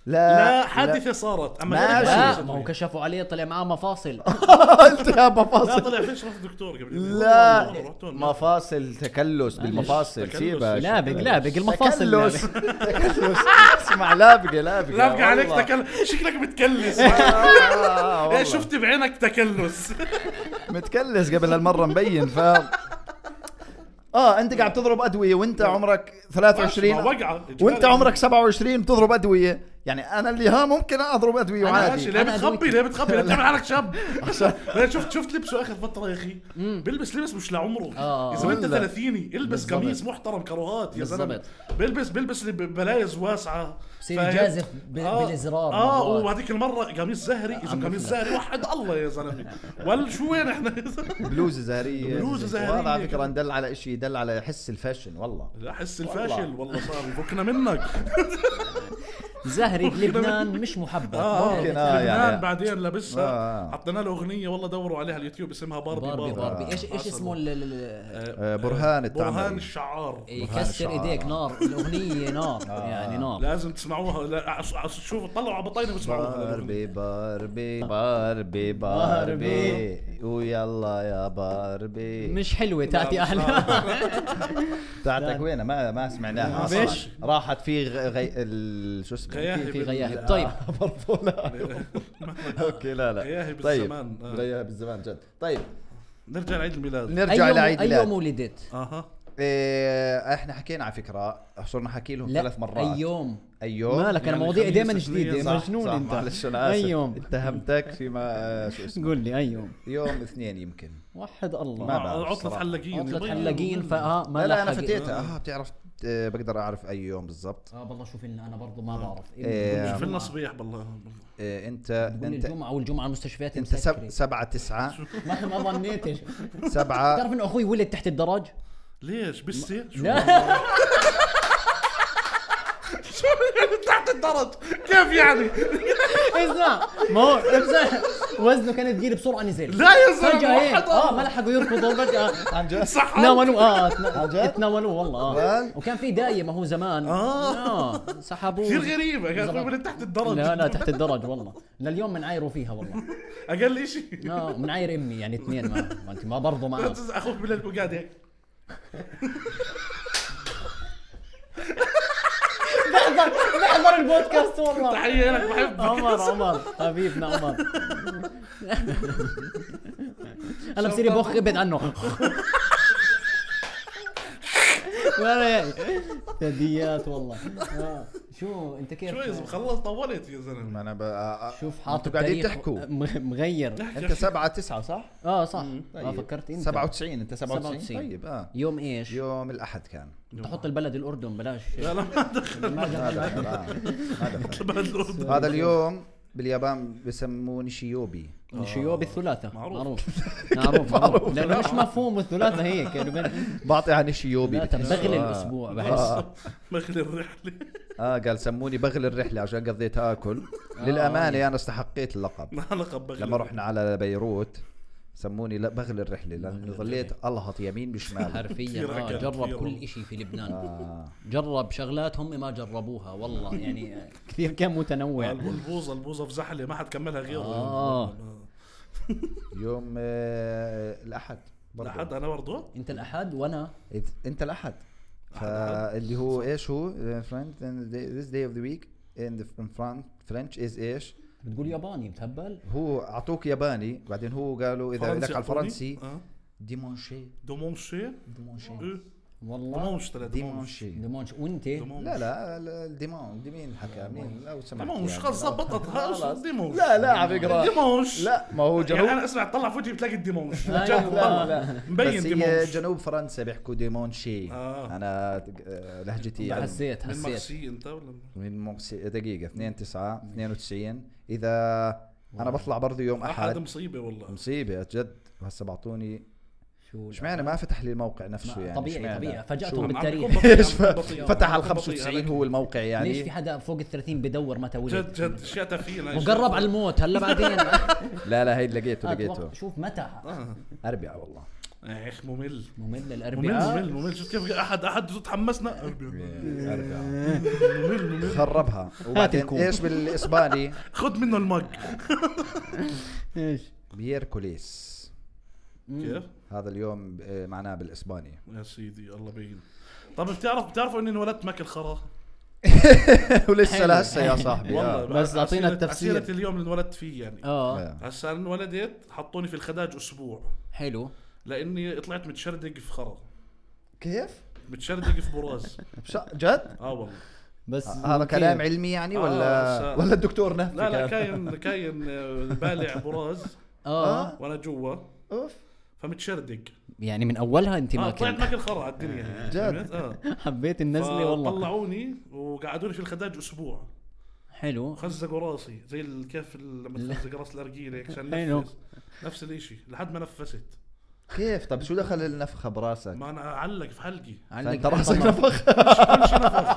لا
لا حادثة صارت أما
ماشي.
ليش
لا
أدوية؟
ما هو كشفوا آه. عليه طلع معاه مفاصل
(laughs) التهاب
لا
مفاصل
طلع فيش رفض دكتور قبل يومين.
لا
والله رحت هون.
مفاصل تكلس بالمفاصل
تكلس.
سيبك
لابق لابق المفاصل
تكلس
لابق.
(laughs) تكلس اسمع لابقة لابقة
لابقة عليك
والله.
تكلس شكلك
(laughs)
متكلس
آه،
(laughs)
والله.
إيه، شفت بعينك
(laughs)
تكلس
متكلس قبل هالمرة مبين ف اه انت قاعد تضرب ادوية وانت عمرك 23
ما وقعة
وانت عمرك 27 بتضرب ادوية يعني انا اللي ها ممكن اضرب ادوية
أنا
ماشي
عادي
ليه
أنا
بتخبي
أدويتي.
ليه بتخبي ليه بتعمل حالك شاب ليه شفت شفت لبسه اخر فتره يا اخي بيلبس لبس مش لعمره
آه.
يا زلمه انت
ولا.
30 البس
بالضبط.
قميص محترم كروات يا زلمه
بالضبط.
بيلبس بيلبس اللي ببلايز واسعه
بصير
فاهم؟
جازف ب- بالإزرار
اه
مرات.
وهذيك المره قميص زهري اذا قميص زهري وحد الله يا زلمه ولا شو وين (laughs) احنا يا زلمة؟
بلوزة زهرية
بلوزة زهرية.
والله على فكرة ندل على اشي دل على حس الفاشن والله
احس الفاشل والله صار فكنا
(laughs)
منك
زهري
(laughs)
بلبنان مش محبب
اه
ممكن،
ممكن
آه،
اه
يعني.
يعني بعدين لبسها
آه.
حطينا له اغنيه والله دوروا عليها على اليوتيوب اسمها باربي
باربي باربي ايش ايش
عسل
اسمه ال- ال- ال-
آه، برهان
برهان
إيه؟
التعمري
الشعار
يكسر
الشعراء.
ايديك نار الاغنيه نار
آه.
يعني نار
لازم تسمعوها لا عس- عس- شوفوا طلعوا على بطينه واسمعوها (laughs)
باربي باربي باربي باربي ويلا يا باربي
مش حلوه تاتي اهلا
بتاعتك وين ما ما سمعناها أصلاً.
فيش.
راحت في غ- غي... ال... شو اسمه
غياهب.
في- في
(laughs) في غياهب طيب
طيب (laughs) برضه لا
(laughs)
اوكي لا لا
غياهب الزمان، آه.
طيب غياهب بالزمان جد طيب
نرجع لعيد الميلاد
اي
نرجع
يوم
لعيد
اي يوم
ميلاد
ولدت
اها
إيه، احنا حكينا على فكره صرنا حكي لهم
لا
ثلاث مرات
اي يوم
اي يوم
مالك انا
يعني
مواضيعي
خميس،
دائما
اثنين،
جديده
صح،
مجنون
صح،
انت
معلش انا اسف
اي يوم
اتهمتك فيما شو اسمه
قول لي اي يوم
يوم اثنين يمكن
وحد
ما
الله
بعرف
عطلة
الصراحة.
حلاقين
عطلة آه. حلاقين فاه ما
لا لا انا
لحق-
فتيتها اه بتعرف آه، بقدر اعرف اي يوم بالضبط
اه بالله شوف لنا انا برضو ما بعرف
إيه.
في لنا صبيح بالله
آه، انت
تقول لي
انت
الجمعه والجمعه المستشفيات
انت سب...
مسكرة.
سبعة تسعة
ما ما ظنيتش
سبعة
(laughs) بتعرف انه اخوي ولد تحت الدرج؟
ليش إيه؟ بسي شو
لا
شو يعني (laughs) تحت الدرج كيف يعني (laughs)
اسمع ما هو اسمع وزنه كان ثقيل بسرعه نزل
لا يا زلمه
فجاه هيك
واحد
اه ما لحقوا يركضوا فجاه
عن جد
صح
تناولوا اه
جد؟
تنا- تناولوه والله اه
والله؟
وكان في دايه ما هو زمان
آه.
اه سحبوه
كثير غريبة يا اخوي
زلمة.
من تحت الدرج
لا لا تحت الدرج والله لليوم منعايروا فيها والله
اقل شيء
اه منعاير امي يعني اثنين ما ما انت ما برضه معاه
(laughs) اخوك بالله قاعد هيك
بحضر بحضر البودكاست والله
تحية لك بحبك
عمر عمر حبيبنا
(laughs)
عمر انا بصير بخ
(laughs)
ابعد عنه لا لا يعني ثدييات والله آه. شو انت كيف
شو يا زلمة خلص طولت يا زلمة
ما انا ب... آه، آه،
شوف
انتوا
حاطط
قاعدين
تاريخ
تحكوا
م- مغير
انت سبعة تسعة صح؟
اه صح
طيب.
ما فكرت انت
97 انت 97
97.
طيب اه
يوم ايش
يوم الاحد كان
تحط البلد الاردن بلاش
لا لا ما دخل
ما
هذا
جمع-
كان، آه. هذا كان.
بلد الأردن
هذا اليوم باليابان بيسموني شيوبي
شيوب الثلاثة
معروف.
(laughs)
معروف معروف معروف لأنه مش مفهوم الثلاثة هيك يعني بين-
بعطي عن شيوبي
لا،
بتحس.
بغل
آه.
الأسبوع بحس
(laughs)
آه.
مخلي الرحلة
اه قال سموني بغل الرحله عشان قضيت اكل
آه.
للامانه انا استحقيت اللقب
ما علاقة بغل
لما رحنا على بيروت سموني لا بغل الرحله لاني ظليت الهط
(laughs)
يمين بشمال
حرفيا
كثير
آه،
أكل،
جرب
كثير
كل
أكل.
إشي في لبنان
آه.
جرب شغلات هم ما جربوها والله يعني آه، كثير كان متنوع
البوظه البوظه في زحله ما حد كملها غيره
آه.
يوم آه الاحد برضو.
لحد انا برضه
انت الاحد وانا
إذ- انت الاحد فاللي هو ايش هو فرنت this day of the week in the in Fran- French is ايش
بتقول ياباني بتهبل
هو اعطوك ياباني بعدين هو قالوا اذا بدك على الفرنسي
آه.
ديمونشي
آه. دومونشي
ديمونشي
والله
دومونش ترى دومونش
ديمونشي
ديمونش وانت
لا لا الديمون دي مين حكى مين لو سمحت
دومونش
يعني.
خلص زبطت خلص دومونش
لا لا على فكره
دومونش
لا ما هو
يعني
جنوب
انا اسمع طلع في وجهي بتلاقي الديمونش
أيوة.
جد
لا،
طلع
لا
مبين
بس هي
ديمونش
جنوب فرنسا بيحكوا ديمونشي
آه.
انا آه، لهجتي يعني
حسيت
من
حسيت
مارسي انت ولا
من مقسي دقيقة 2 9 92 إذا انا بطلع برضه يوم
احد
احد
مصيبه والله
مصيبه جد هسه بعطوني
شو
اشمعنى ما فتح لي الموقع نفسه يعني
طبيعي
إشمعنى؟
طبيعي
شو؟
فاجأتهم
عم
بالتاريخ
بكون
(laughs)
بطيء،
ايش
عم
ف-
بكون بطيء، عم
فتح على
بكون بطيء،
95
عليك.
هو الموقع يعني
ليش في حدا فوق ال 30 بدور متى
جد
ولد
جد اشياء تافهين هاي
وقرب على الموت هلا
(laughs)
بعدين
لا لا هي لقيته لقيته
أتوقع- شوف متى
اربعة والله
يا اخي ممل
ممل
ممل ممل
الاربعاء
ممل شفت كيف احد احد تحمسنا
إيه. أربعة
ممل ممل
(laughs) خربها وبعدين
الكوب.
ايش بالاسباني
خذ منه المج
ايش
بيركوليس
كيف؟
هذا اليوم آه، معناه بالاسباني
يا سيدي الله بين طب بتعرف بتعرفوا اني انولدت ماكل خرا
(laughs) ولسه
حلو.
لهسه يا صاحبي آه.
والله
بس أعطينا
عسيرة-
التفسير.
عسيرة اليوم اللي انولدت فيه يعني
اه
آه.
هسا انا انولدت حطوني في الخداج اسبوع
حلو
لاني طلعت متشردق في خرا
كيف؟
متشردق في براز
بش- جد؟
اه والله
بس
آه، هذا كلام علمي يعني ولا
آه، س-
ولا الدكتور نفسه
لا لا
كان؟
كاين كاين آه، بالع براز
آه.
اه
وانا جوا
اوف
فمتشردق
يعني من اولها انت
اه
ما
طلعت
كنت
ماكل خرا على الدنيا يعني
آه.
جد؟
فهمت؟ اه
(laughs) حبيت النزله والله
طلعوني وقعدوني في الخداج اسبوع
حلو
خزقوا راسي زي ال- كيف ال- لما تخزق راس الارجيله هيك عشان
حلو.
نفس نفس الشيء لحد ما نفست
كيف؟ طب شو دخل النفخة براسك؟
ما انا اعلق في حلقي
علق
انت راسك
طلع-
نفخ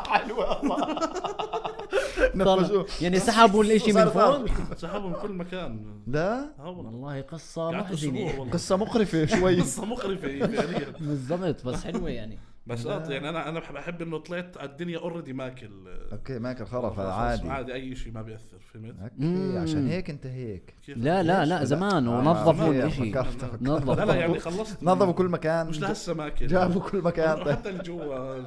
حلوة والله
(laughs) طلع.
نفخوه
يعني سحبوا الاشي من
صار- صار.
فوق
سحبوا من كل مكان
لا
اه والله
والله قصه
قعدت اسبوع
محزنه
والله
قصة مقرفة
(laughs)
شوي
قصه مقرفه فعليا
بالضبط بس حلوه
(laughs)
يعني
بس آه، يعني انا انا بحب- بحب انه طلعت على الدنيا اوريدي ماكل آه،
اوكي ماكل
خلاص،
خرف عادي
عادي اي شيء ما بياثر فهمت
اوكي عشان هيك انت هيك
كيف؟
لا لا
ليش؟
لا زمان
آه،
ونظفوا
أوكي،
الاشي
فكرت- فكرت.
نظفوا
لا لا يعني خلصت
نظفوا كل مكان
مش لهسه ماكل
جابوا كل
(laughs)
مكان
حتى اللي جوا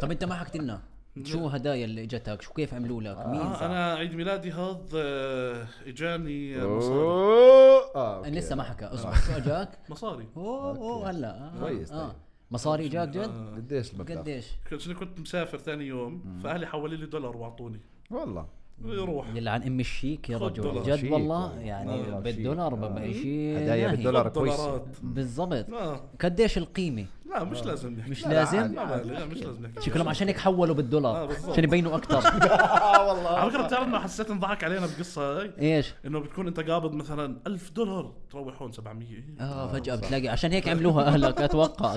طب انت ما حكت لنا شو هدايا اللي اجتك شو كيف عملوا لك مين
آه
صح؟
انا عيد ميلادي هذا آه، اجاني آه، مصاري
أوه. اه أوكي.
أنا لسه ما حكى اصبر شو اجاك
(laughs)
مصاري
اوه اوه هلا آه،
كويس،
آه.
طيب.
مصاري اجاك جد
آه.
قديش المبلغ؟
قديش
كنت أنا كنت مسافر ثاني يوم فاهلي حولوا لي دولار واعطوني
والله
يروح
يلعن ام الشيك يا
خد
رجل
دولار
جد
شيك.
والله
آه.
يعني
دولار
بالدولار
شيك.
ببقى
آه.
شيء
هدايا
ناهي.
بالدولار كويسة
دولارات
بالضبط
آه.
قديش القيمه
لا مش لازم نحكي
آه. مش
لا،
لازم
لا، ما- لا، مش لازم نحكي
شكلهم عشان هيك حولوا
آه،
بالدولار
بالضبط.
عشان
(laughs)
يبينوا (laughs) اكثر
آه،
اه والله
على فكره بتعرف انه حسيت انضحك علينا بالقصه هاي
ايش
انه بتكون انت قابض مثلا 1000 دولار تروح هون إيه؟ 700
اه فجاه بتلاقي عشان هيك عملوها اهلك اتوقع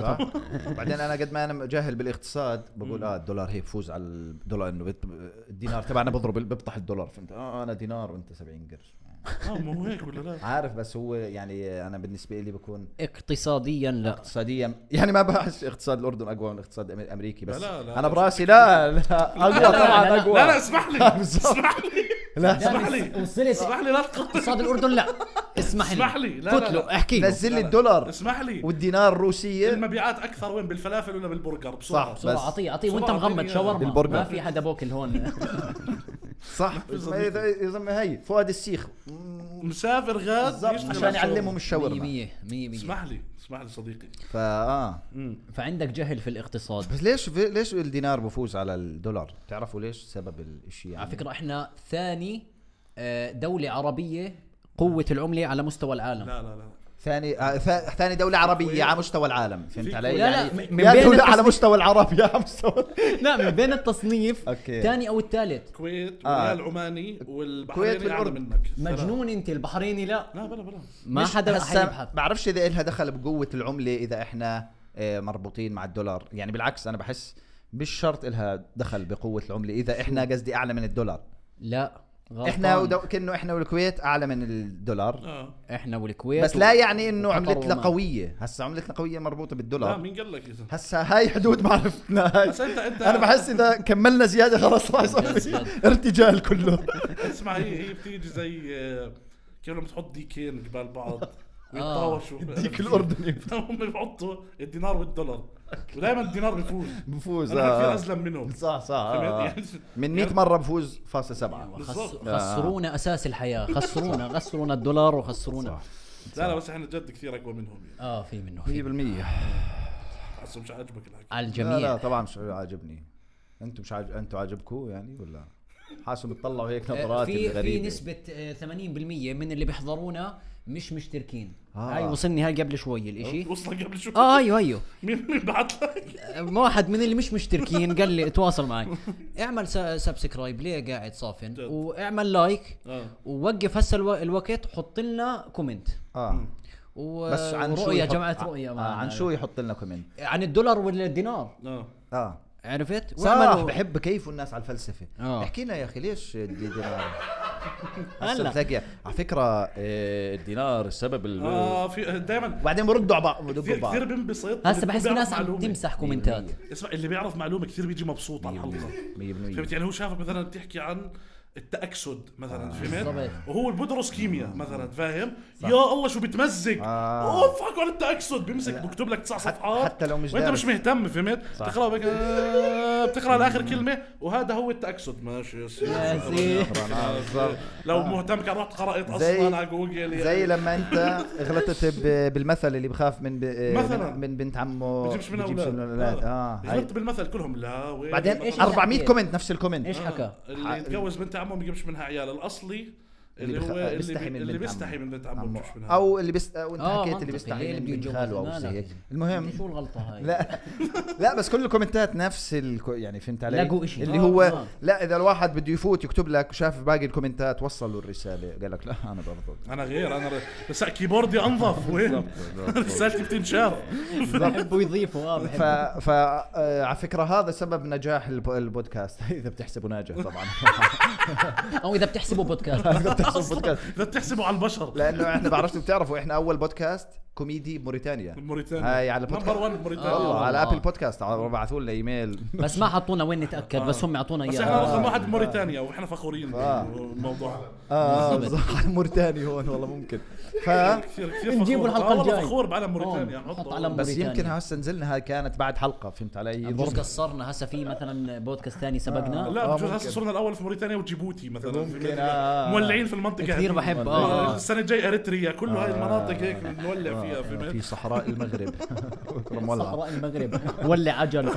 (laughs)
صح بعدين انا قد ما انا جاهل بالاقتصاد بقول اه الدولار هي بفوز على الدولار انه بت- الدينار تبعنا بضرب بيبطح الدولار فانت اه انا دينار وانت 70 قرش
اه مو هيك ولا لا
(laughs)
عارف بس هو يعني انا بالنسبه لي بكون
اقتصاديا
آه.
لا
اقتصاديا يعني ما بحس اقتصاد الاردن اقوى من الاقتصاد الأمر- الامريكي بس
لا، لا،
انا براسي لا لا اقوى
لا،
طبعا
لا.
اقوى
لا لا اسمح
(laughs)
لي
بالضبط.
اسمح لي
لا
اسمح لي
وصلت
اسمح لي لا تقطع
اقتصاد الاردن لا اسمح لي
اسمح لي. لا،
فوت
لا،
له
لا.
احكي له
نزل لي الدولار
اسمح لي
والدينار الروسية
المبيعات اكثر وين بالفلافل ولا بالبرجر بسرعه
صح.
بسرعه
بس.
اعطيه اعطيه
بسرعة
وانت مغمض
أعطيني
شاورما
بالبرجر.
ما في حدا بوكل
(laughs)
هون
صح يا زلمة هي فؤاد السيخ
مسافر غاد
بالضبط
يشتغل
عشان
على الشغل.
يعلمهم الشاورما
100 100
اسمح لي اسمح لي صديقي
نعم.
فاه
فعندك جهل في الاقتصاد
بس ليش ليش الدينار بفوز على الدولار؟ بتعرفوا ليش سبب الشيء يعني؟
على فكره احنا ثاني آه، دوله عربيه قوه العمله على مستوى العالم
لا لا لا
ثاني آه ثا- ثاني دولة عربية على مستوى العالم فهمت
في-
علي؟
لا، لا،
يعني
م- من
يا
بين
دولة على
التصنيف.
مستوى العرب يا على مستوى
لا من بين التصنيف
أوكي.
ثاني او الثالث
الكويت
آه.
والريال العماني والبحريني اعلى
والأردن.
منك
مجنون انت البحريني لا
لا بلا بلا
ما
مش
حدا
هسا
حيبحث
بعرفش اذا إلها دخل بقوة العملة اذا احنا آه، مربوطين مع الدولار، يعني بالعكس انا بحس مش شرط إلها دخل بقوة العملة اذا احنا قصدي اعلى من الدولار،
لا غلطان.
احنا ودو... كأنه احنا والكويت اعلى من الدولار
اه
احنا والكويت
بس
و-
لا يعني انه
وقطر
عملتنا
وعمان.
قوية، هسا عملتنا قوية مربوطة
لا
بالدولار
مين قال لك إذا؟
هسا هاي حدود معرفتنا هاي
بس انت انت
انا بحس اذا كملنا زياده خلاص راح يصير في ارتجال كله
اسمع هي هي بتيجي زي آه، كيف لما تحط ديكين قبال بعض
(laughs) آه.
ويتطاوشوا (laughs)
ديك الاردني
هم بيحطوا الدينار والدولار ودائما الدينار بيفوز
بفوز
انا كثير
آه.
ازلم منهم
صح صح
(laughs)
آه.
فهمت؟ يعني-
من 100 مره بفوز فاصل سبعه
خس...
بالضبط.
خسرونا اساس الحياه
(laughs)
خسرونا خسرونا الدولار وخسرونا
لا لا بس احنا جد كثير اقوى منهم يعني
اه في منه
100%
في
حاسه مش عاجبك الحكي
على
لا لا
الجميع
طبعا مش عاجبني انتم مش عاجب انتم عاجبكم يعني ولا حاسهم بتطلعوا هيك
آه،
نظرات
في في
غريبه
نسبه آه، 80% من اللي بيحضرونا مش مشتركين
آه.
هاي وصلني هاي قبل شوي الاشي
وصلك قبل شوي
اه ايوه ايوه
مين مين بعت لك؟
آه، واحد من اللي مش مشتركين قال لي تواصل معي اعمل سبسكرايب ليه قاعد صافن
جد.
واعمل لايك
آه.
ووقف هسه الو... الوقت حط لنا كومنت
اه
و...
بس عن شو
ورؤية
يحط-
جماعة رؤية
آه
معنا.
عن شو يحط لنا كومنت
عن الدولار والدينار
اه
اه
عرفت؟
صراحة
واعملوا-
بحب كيف الناس على الفلسفة
آه.
احكي لنا يا اخي ليش الدينار
هلا.
هلا بتلاقي على فكرة آه،
إيه، الدينار السبب ال-
اه في دائما
وبعدين بردوا على بعض بدقوا
كثير
بعض
كثير بنبسط
هسه بحس في
بيعرف
ناس عم
معلومة.
تمسح كومنتات
اسمع اللي بيعرف معلومه كثير بيجي مبسوط على الحلقه
100%
فهمت يعني هو شافك مثلا بتحكي عن التأكسد
آه،
مثلا فهمت
بالضبط.
وهو اللي بدرس كيمياء مثلا فاهم يا الله شو بتمزق
آه.
اوف حكوا عن التأكسد بيمسك بكتب لك تسع صفحات
حتى لو مش
وانت
دارس.
مش مهتم فهمت بتقرا هيك آه، بتقرا لاخر كلمه وهذا هو التأكسد ماشي يا سيدي آه،
يا سيدي.
بالضبط.
لو مهتم كان رحت قرأت
زي-
اصلا على جوجل يعني.
زي لما انت غلطت ب- بالمثل اللي بخاف من ب... آه،
مثلاً.
من- من بنت عمه
بجيبش من
بجيبش
اولاد
من
آه.
اولاد اه هاي.
غلطت بالمثل كلهم لا وين
بعدين
المثل؟
إيش
400
حكي؟
كومنت نفس الكومنت
ايش
آه،
حكى؟
اللي يتجوز بنت عمه ما بيجيبش منها عيال الاصلي اللي,
اللي بخ-
هو اللي
بيستحي
بي-
من
اللي
بنت
بيستحي
عمه.
من بنت عمه ما بيجيبش منها
او اللي بس وانت
آه، منطقي.
حكيت اللي
ليه
بيستحي
اللي بده
من
يتجوز
خاله او
مالك؟
زي هيك. المهم
شو الغلطة هاي؟
لا لا بس كل الكومنتات نفس الكو يعني فهمت علي؟
لقوا إشي.
اللي
آه،
هو
آه.
لا اذا الواحد بده يفوت يكتب لك شاف باقي الكومنتات وصلوا الرساله قال لك لا انا برضو
انا غير انا بس كيبوردي
(laughs)
انظف وين (laughs) رسالتي بتنشاف
بحبوا يضيفوا اه
ف...
بحبوا
ف آه، على فكره هذا سبب نجاح الب... البودكاست (laughs) اذا بتحسبه ناجح (laughs) طبعا
او اذا بتحسبوا بودكاست
(laughs) اذا بتحسب
اصلا
بودكاست
اذا بتحسبوا على البشر
لانه احنا بعرفش بتعرفوا احنا اول بودكاست كوميدي بموريتانيا
موريتانيا
هاي على
نمبر
بودكاست
1 موريتانيا
والله على
آه.
ابل بودكاست بعثوا لنا ايميل
بس ما حطونا وين نتاكد بس هم يعطونا
بس احنا
اياها
رقم واحد بموريتانيا واحنا فخورين
آه.
بالموضوع
آه،
(laughs) اه بالضبط موريتاني هون والله ممكن ف
كثير كثير فخور
نجيبوا الحلقة
آه، والله
الجاي.
فخور بعلم
آه،
موريتانيا
نحط
نحطه.
علم.
بس
موريتانيا.
يمكن هسه نزلنا هاي كانت بعد حلقه فهمت علي
بجوز
يضرب
قصرنا هسه في مثلا بودكاست ثاني سبقنا
لا
آه،
بجوز هسه
ممكن.
صرنا الاول في موريتانيا وجيبوتي مثلا
ممكن،
في-
آه.
مولعين في المنطقه
كثير
هذه.
بحب اه
السنه الجايه اريتريا كل هاي المناطق هيك نولع فيها
آه، في
في
صحراء
(laughs)
المغرب بكره مولعة.
صحراء المغرب (laughs) ولع عجله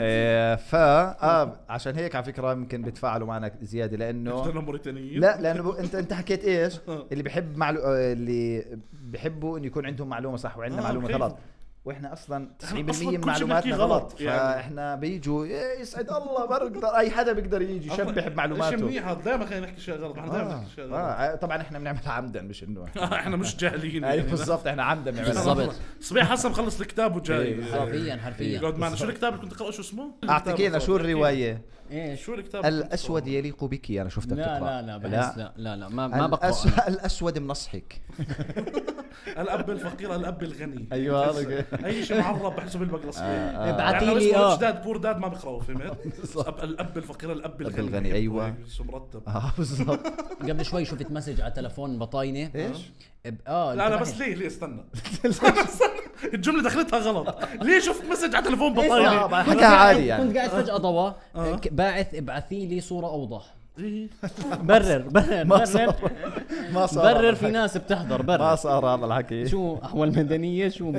آه، فا اه عشان هيك على فكره يمكن بيتفاعلوا معنا زياده لانه
صرنا موريتانيين
لا لانه ب- انت انت حكيت ايش اللي بحب معلو... آه، اللي بحبوا انه يكون عندهم معلومه صح وعندنا
آه،
معلومه
كيف؟
غلط واحنا اصلا 90%
أصلاً كل
من
شي
معلوماتنا
بنحكيه
غلط,
غلط يعني.
فاحنا بيجوا إيه، يسعد الله برقدر اي حدا بيقدر يجي يشبح
شيء
بمعلوماته
منيح دائما خلينا نحكي شيء غلط احنا دائما
آه.
نحكي شيء (laughs) غلط
آه. طبعا احنا بنعملها عمدا مش
(laughs)
انه
احنا مش جاهلين
اي
يعني.
بالضبط احنا عمدا بنعملها
بالضبط
صبيح هسه مخلص الكتاب
إيه،
وجاي
حرفيا حرفيا
يقعد معنا شو الكتاب اللي كنت تقرا شو اسمه؟
اعطيكينا إيه، شو الروايه
ايش
شو الكتاب
الاسود يليق بك انا شفتك
لا
بتقرأ.
لا لا بحس لا لا لا ما ما بقرا
الأس...
أنا.
(laughs) الاسود منصحك
الاب الفقير الاب الغني
أيوة،
بتحس-
هذا آه،
اي شيء معرب بحسه بالبقلصيه
ابعتي لي اه
داد بور داد ما بقراه
(laughs)
فهمت؟ الأب- الاب الفقير الاب الغني
الغني، أيوة.
بحسه مرتب
اه بالضبط
(laughs) قبل شوي شفت مسج على تلفون بطاينه
إيش؟
ب- اه
لا لا
انتبهت.
بس ليه ليه
(laughs)
استنى استنى، الجمله دخلتها غلط ليه شفت مسج على تليفون بطاينه
آه، بعد
كنت
حكاها
قاعد-
عادي يعني.
آه، كنت قاعد فجاه ضوا ك- باعث ابعثي لي صوره اوضح برر برر
ما صار.
برر
ما صار هذا
برر في
الحكي.
ناس بتحضر
ما
برر
صار هذا الحكي
شو احوال مدنيه شو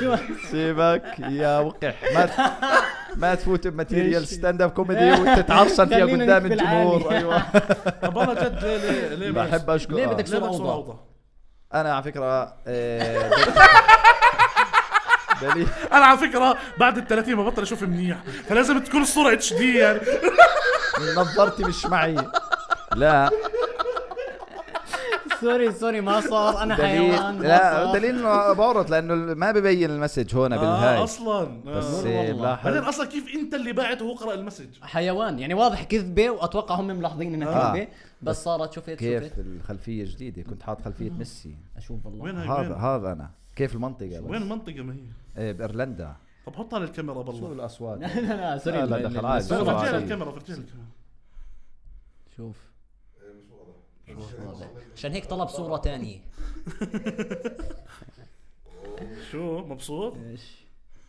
شو
سيبك يا وقح ما
(laughs)
ما تفوت بماتيريال ستاند اب كوميدي وتتعصب فيها
خلينا
قدام
نكفي
الجمهور
العالي.
ايوه
طب انا جد ليه ليه ليه بس؟
بحب اشكر
(laughs) ليه
آه.
بدك-
ليه بكسر اوضه؟
انا على فكره آه،
(laughs)
دليل
انا على فكره بعد ال 30 ببطل اشوف منيح فلازم تكون الصوره اتش دي
(laughs)
يعني
نظارتي مش معي
(laughs)
لا
سوري سوري ما صار انا حيوان
دليل
ما
لا
صار.
دليل انه بعرض لانه ما ببين المسج هون
آه
بالهاي
اصلا آه.
بس
والله.
بعدين
لاحظ
اصلا كيف انت اللي باعت وهو قرا المسج
حيوان يعني واضح كذبه واتوقع هم ملاحظين انها
آه.
كذبه بس صارت شفت
كيف
شفت
الخلفيه جديده كنت حاط خلفيه ميسي
اشوف والله
وين هاي
هذا
طيب، وين
هذا انا كيف المنطقه بس
وين المنطقه ما هي
إيه، بايرلندا
طب حطها للكاميرا
شو
بالله
الاصوات
(laughs) لا لا لا سوري
لا، لا،
ال-
دخل
ال-
عادي.
الصورة.
والله
فرجيها
عادي.
للكاميرا فرجيها للكاميرا
شوف مش واضح. عشان هيك طلب صورة تانية
شو مبسوط؟
ايش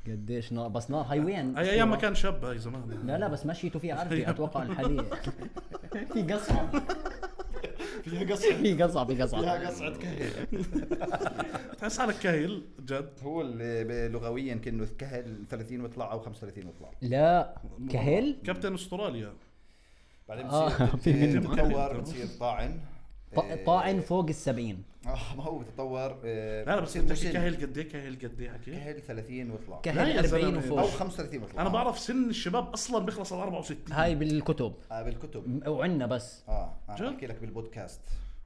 قديش نار بس نار هاي وين؟
هي ايام ما كان شاب هاي زمان
لا لا بس مشيتوا فيها عرفي اتوقع الحالية في قصعة
في قصعه
(laughs) في قصعة في قصعة
قصعه كاهل تحس حالك كاهل جد
هو اللي لغويا كانه كهل 30 وطلع او 35 وطلع
لا كهل؟
كابتن استراليا
بعدين
(laughs)
آه، بتصير- في
منه. بتتطور،
بتصير طاعن إيه.
ط- طاعن فوق السبعين
اه ما هو بتطور آه،
لا لا بس
بصير
انت
مسن.
كاهل قد ايه كاهل قد ايه حكي
كهل 30 واطلع
لا يا
كهل 40
زلمة.
او
وفوق
35 واطلع
انا بعرف سن الشباب اصلا بيخلص على 64
هاي بالكتب
آه بالكتب
وعندنا بس
اه انا
جد؟
بحكي لك
(laughs)
بالبودكاست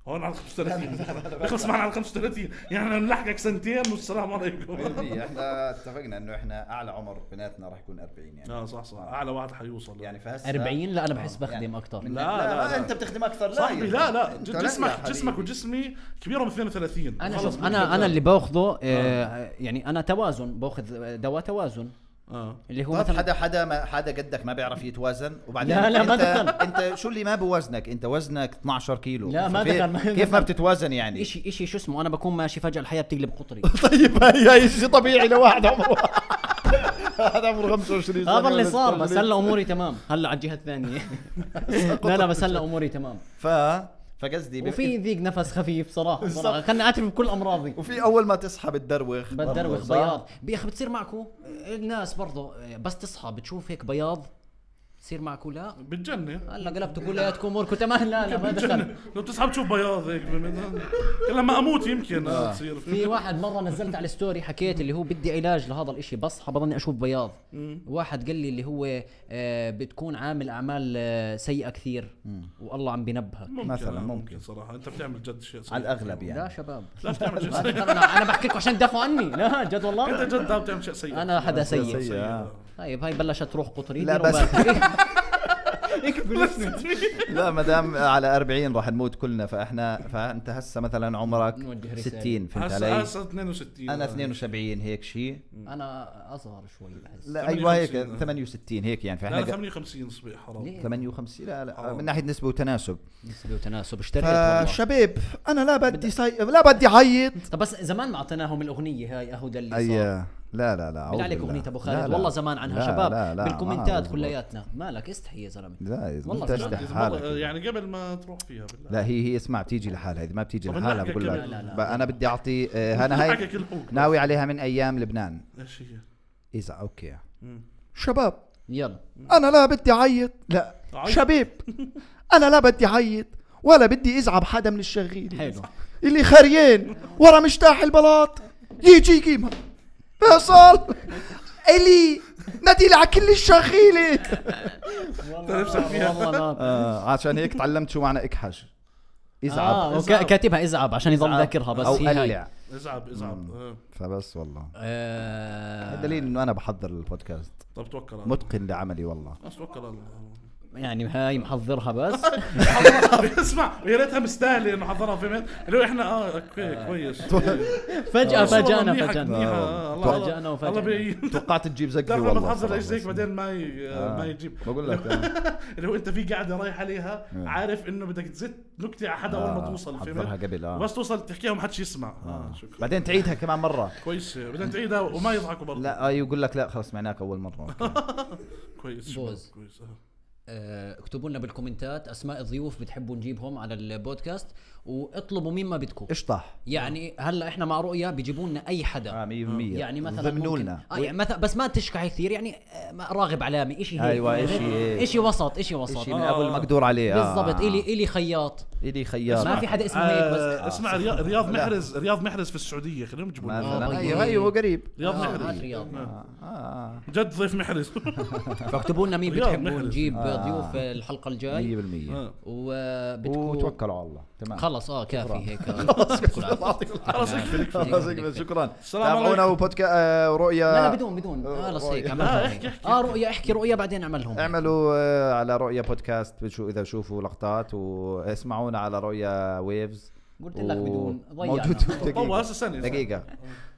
هون على
لا، لا، لا،
35
لا.
بيخلص معنا على 35 يعني بنلحقك سنتين والسلام
(laughs)
عليكم
100% احنا اتفقنا انه احنا اعلى عمر بناتنا راح يكون 40 يعني
اه صح صح اعلى واحد حيوصل
يعني فهسه
40 لا انا بحس
آه،
بخدم
يعني
اكثر
من-
لا، لا، لا.
انت بتخدم اكثر لا يعني.
صاحبي
يا
لا لا
أنت
ج-
يا
يعني.
جسمك
حبيبي.
جسمك وجسمي كبيرهم 32
انا
خلص
شوف
بدك
انا انا
تقدر.
اللي باخذه آه، يعني انا توازن باخذ دواء توازن
اه
اللي هو
طب
مثلا
حدا حدا ما حدا قدك ما بيعرف يتوازن وبعدين
لا، لا،
انت
ما دخل.
انت شو اللي ما بوزنك انت وزنك 12 كيلو
لا، ما
فكيف-
دخل، ما
كيف
دخل.
ما بتتوازن يعني
اشي اشي شو اسمه انا بكون ماشي فجاه الحياه بتقلب قطري
طيب هي هي شيء طبيعي لواحد عمره (laughs) هذا عمره 25
(laughs) هذا اللي صار بس هلا اموري تمام هلا على الجهه الثانيه (laughs) لا لا بس هلا اموري تمام
ف فقصدي
وفي
وفي
ذيق نفس خفيف صراحه
بالضبط.
صراحه خلني اعترف بكل امراضي
وفي اول ما تصحى بتدروخ برضه،
بتدروخ
صح؟
بياض يا اخي بتصير معكم الناس برضه بس تصحى بتشوف هيك بياض بتصير معكم لا
بتجنن
هلا قلبتوا كلياتكم اموركم تمام لا لا
(laughs)
ما دخل
لو بتسحب تشوف بياض هيك بالميدان. لما اموت يمكن آه، تصير
في واحد مره نزلت على الستوري حكيت اللي هو بدي علاج لهذا الاشي بصحى بضلني اشوف بياض واحد قال لي اللي هو آه، بتكون عامل اعمال آه، سيئه كثير والله عم بنبهك
مثلاً،
آه،
ممكن.
صراحه انت بتعمل جد شيء صحيح.
على الاغلب
لا
يعني
شباب
لا بتعمل
(laughs)
شيء سيء
انا أنا بحكي لكم عشان تدافعوا عني لا جد والله
انت جد بتعمل شيء سيء (laughs)
انا حدا سيء
سيء، آه.
طيب هاي بلشت تروح قطري
لا،
ديروا
بس-
بالكم.
لا ما دام على 40 راح نموت كلنا فاحنا فانت هسه مثلا عمرك
نوجه رسالة.
60 فهمت
هسه
علي؟
هسه يعني. 62
انا 72 هيك شيء
انا اصغر شوي بحس
لا ايوه هيك
58.
68 هيك يعني
لا
فاحنا
لا،
قا-
58 صبي حرام
ليه؟
58 لا لا من ناحيه نسبه وتناسب
نسبه وتناسب اشتريت والله
فشباب انا لا بدي سي... لا بدي عيط
طب بس زمان ما اعطيناهم الاغنيه هاي اهدى اللي صار
اي لا لا لا
بالله
أيوة. أعوذ
عليك
بالله.
اغنيه ابو
لا،
خالد
لا.
والله زمان عنها
لا، لا،
شباب
لا،
بالكومنتات
ما
كلياتنا مالك استحي يا زلمه
لا يا زلمة،
والله
انت
زمان.
اشتح حالك
يعني قبل ما تروح فيها بالله
طيب. لا هي هي اسمع بتيجي لحالها اذا ما بتيجي
طب
لحالها
نلحقك
بقول لك
كمان.
لا، لا،
بقى انا بدي اعطي آه، انا
نلحقك
هاي
الحوق.
ناوي عليها من ايام لبنان
ايش هي؟
اذا اوكي
مم.
شباب
يلا
انا لا بدي اعيط لا
عيط.
شباب انا لا بدي اعيط ولا بدي ازعب حدا من الشغيل
حلو
اللي خريان ورا مشتاح البلاط يجي يقيمها فيصل الي نادي على كل الشغيلة
أنت نفسك فيها.
والله (laughs) نار.
آه عشان هيك تعلمت شو معنى اكحش
اه
ازعب
وكا- كاتبها ازعب عشان يضل ذاكرها بس
او
هي هاي.
قلع
ازعب ازعب آه.
فبس والله
آه،
الدليل انه انا بحضر البودكاست
طب توكل على الله
متقن لعملي والله
بس توكل على الله (laughs)
يعني هاي محضرها بس
اسمع يا ريتها مستاهله انه حضرها في مين لو احنا اه اوكي
(laughs)
كويس
(laughs)
آه.
فجأة فاجأنا
منيحة،
فجأنا
منيحة.
آه،
الله- الله-
فاجأنا وفجأنا.
الله بي
توقعت تجيب زقي
تعرف
والله
لما تحضر ايش
صراحة.
زيك بعدين ما ي...
آه.
ما يجيب (laughs)
بقول لك آه.
لو انت في قاعده رايح عليها عارف انه بدك تزت نكته على حدا اول ما
نعم. آه،
توصل
حضرها قبل، آه.
بس توصل تحكيها وما حدش يسمع اه شكرا
بعدين تعيدها كمان مره
كويس بدنا تعيدها وما يضحكوا برضه
لا آه، يقول لك لا خلص سمعناك اول مره أوكي.
(laughs)
كويس شباب،
بوز.
كويس آه.
آه، اكتبوا لنا بالكومنتات اسماء ضيوف بتحبوا نجيبهم على البودكاست واطلبوا مين ما بدكم
اشطح
يعني هلا احنا مع رؤيا بيجيبوا لنا اي
اه 100%
حدا يعني مثلا
ضمنوا
ممكن-
لنا
آه يعني مثلا بس ما تشكحي كثير يعني آه، ما- راغب علامي اشي هيك
أيوة، إشي هيك.
اشي وسط اشي وسط
شيء من
آه.
ابو المقدور عليه آه.
بالضبط الي الي خياط
الي خيار
ما في حدا اسمه هيك بس
آه، اسمع رياض رياض محرز رياض محرز في السعوديه خليهم يجيبوا لنا.
آه،
مثلا
طيب.
ايوه ايوه قريب
رياض
آه، هات
محرز
رياض.
آه.
آه.
جد ضيف
(laughs)
محرز
آه، فاكتبوا لنا مين
رياض
بتحبوا
محرز.
نجيب
آه.
ضيوف الحلقه
100%
الجاي آه.
آه.
وبدكم
وتوكلوا على الله تمام
(laughs) خلص اه كافي هيك
خلاص اكفي اكفي
(laughs) خلاص يكفي، شكرا
السلام
تابعونا
عليكم.
وبودكاست
لا لا
رؤيا
بدون بدون خلص هيك
رؤيا.
لا،
عملها
احكي،
هيك.
احكي،
اه رؤيا آه، احكي رؤيا بعدين اعملهم
اعملوا آه، على رؤيا بودكاست بتشو اذا شوفوا لقطات واسمعونا على رؤيا ويفز
قلت لك بدون ضيعنا.
موجود (laughs) دقيقة
طول هسه سنه
دقيقة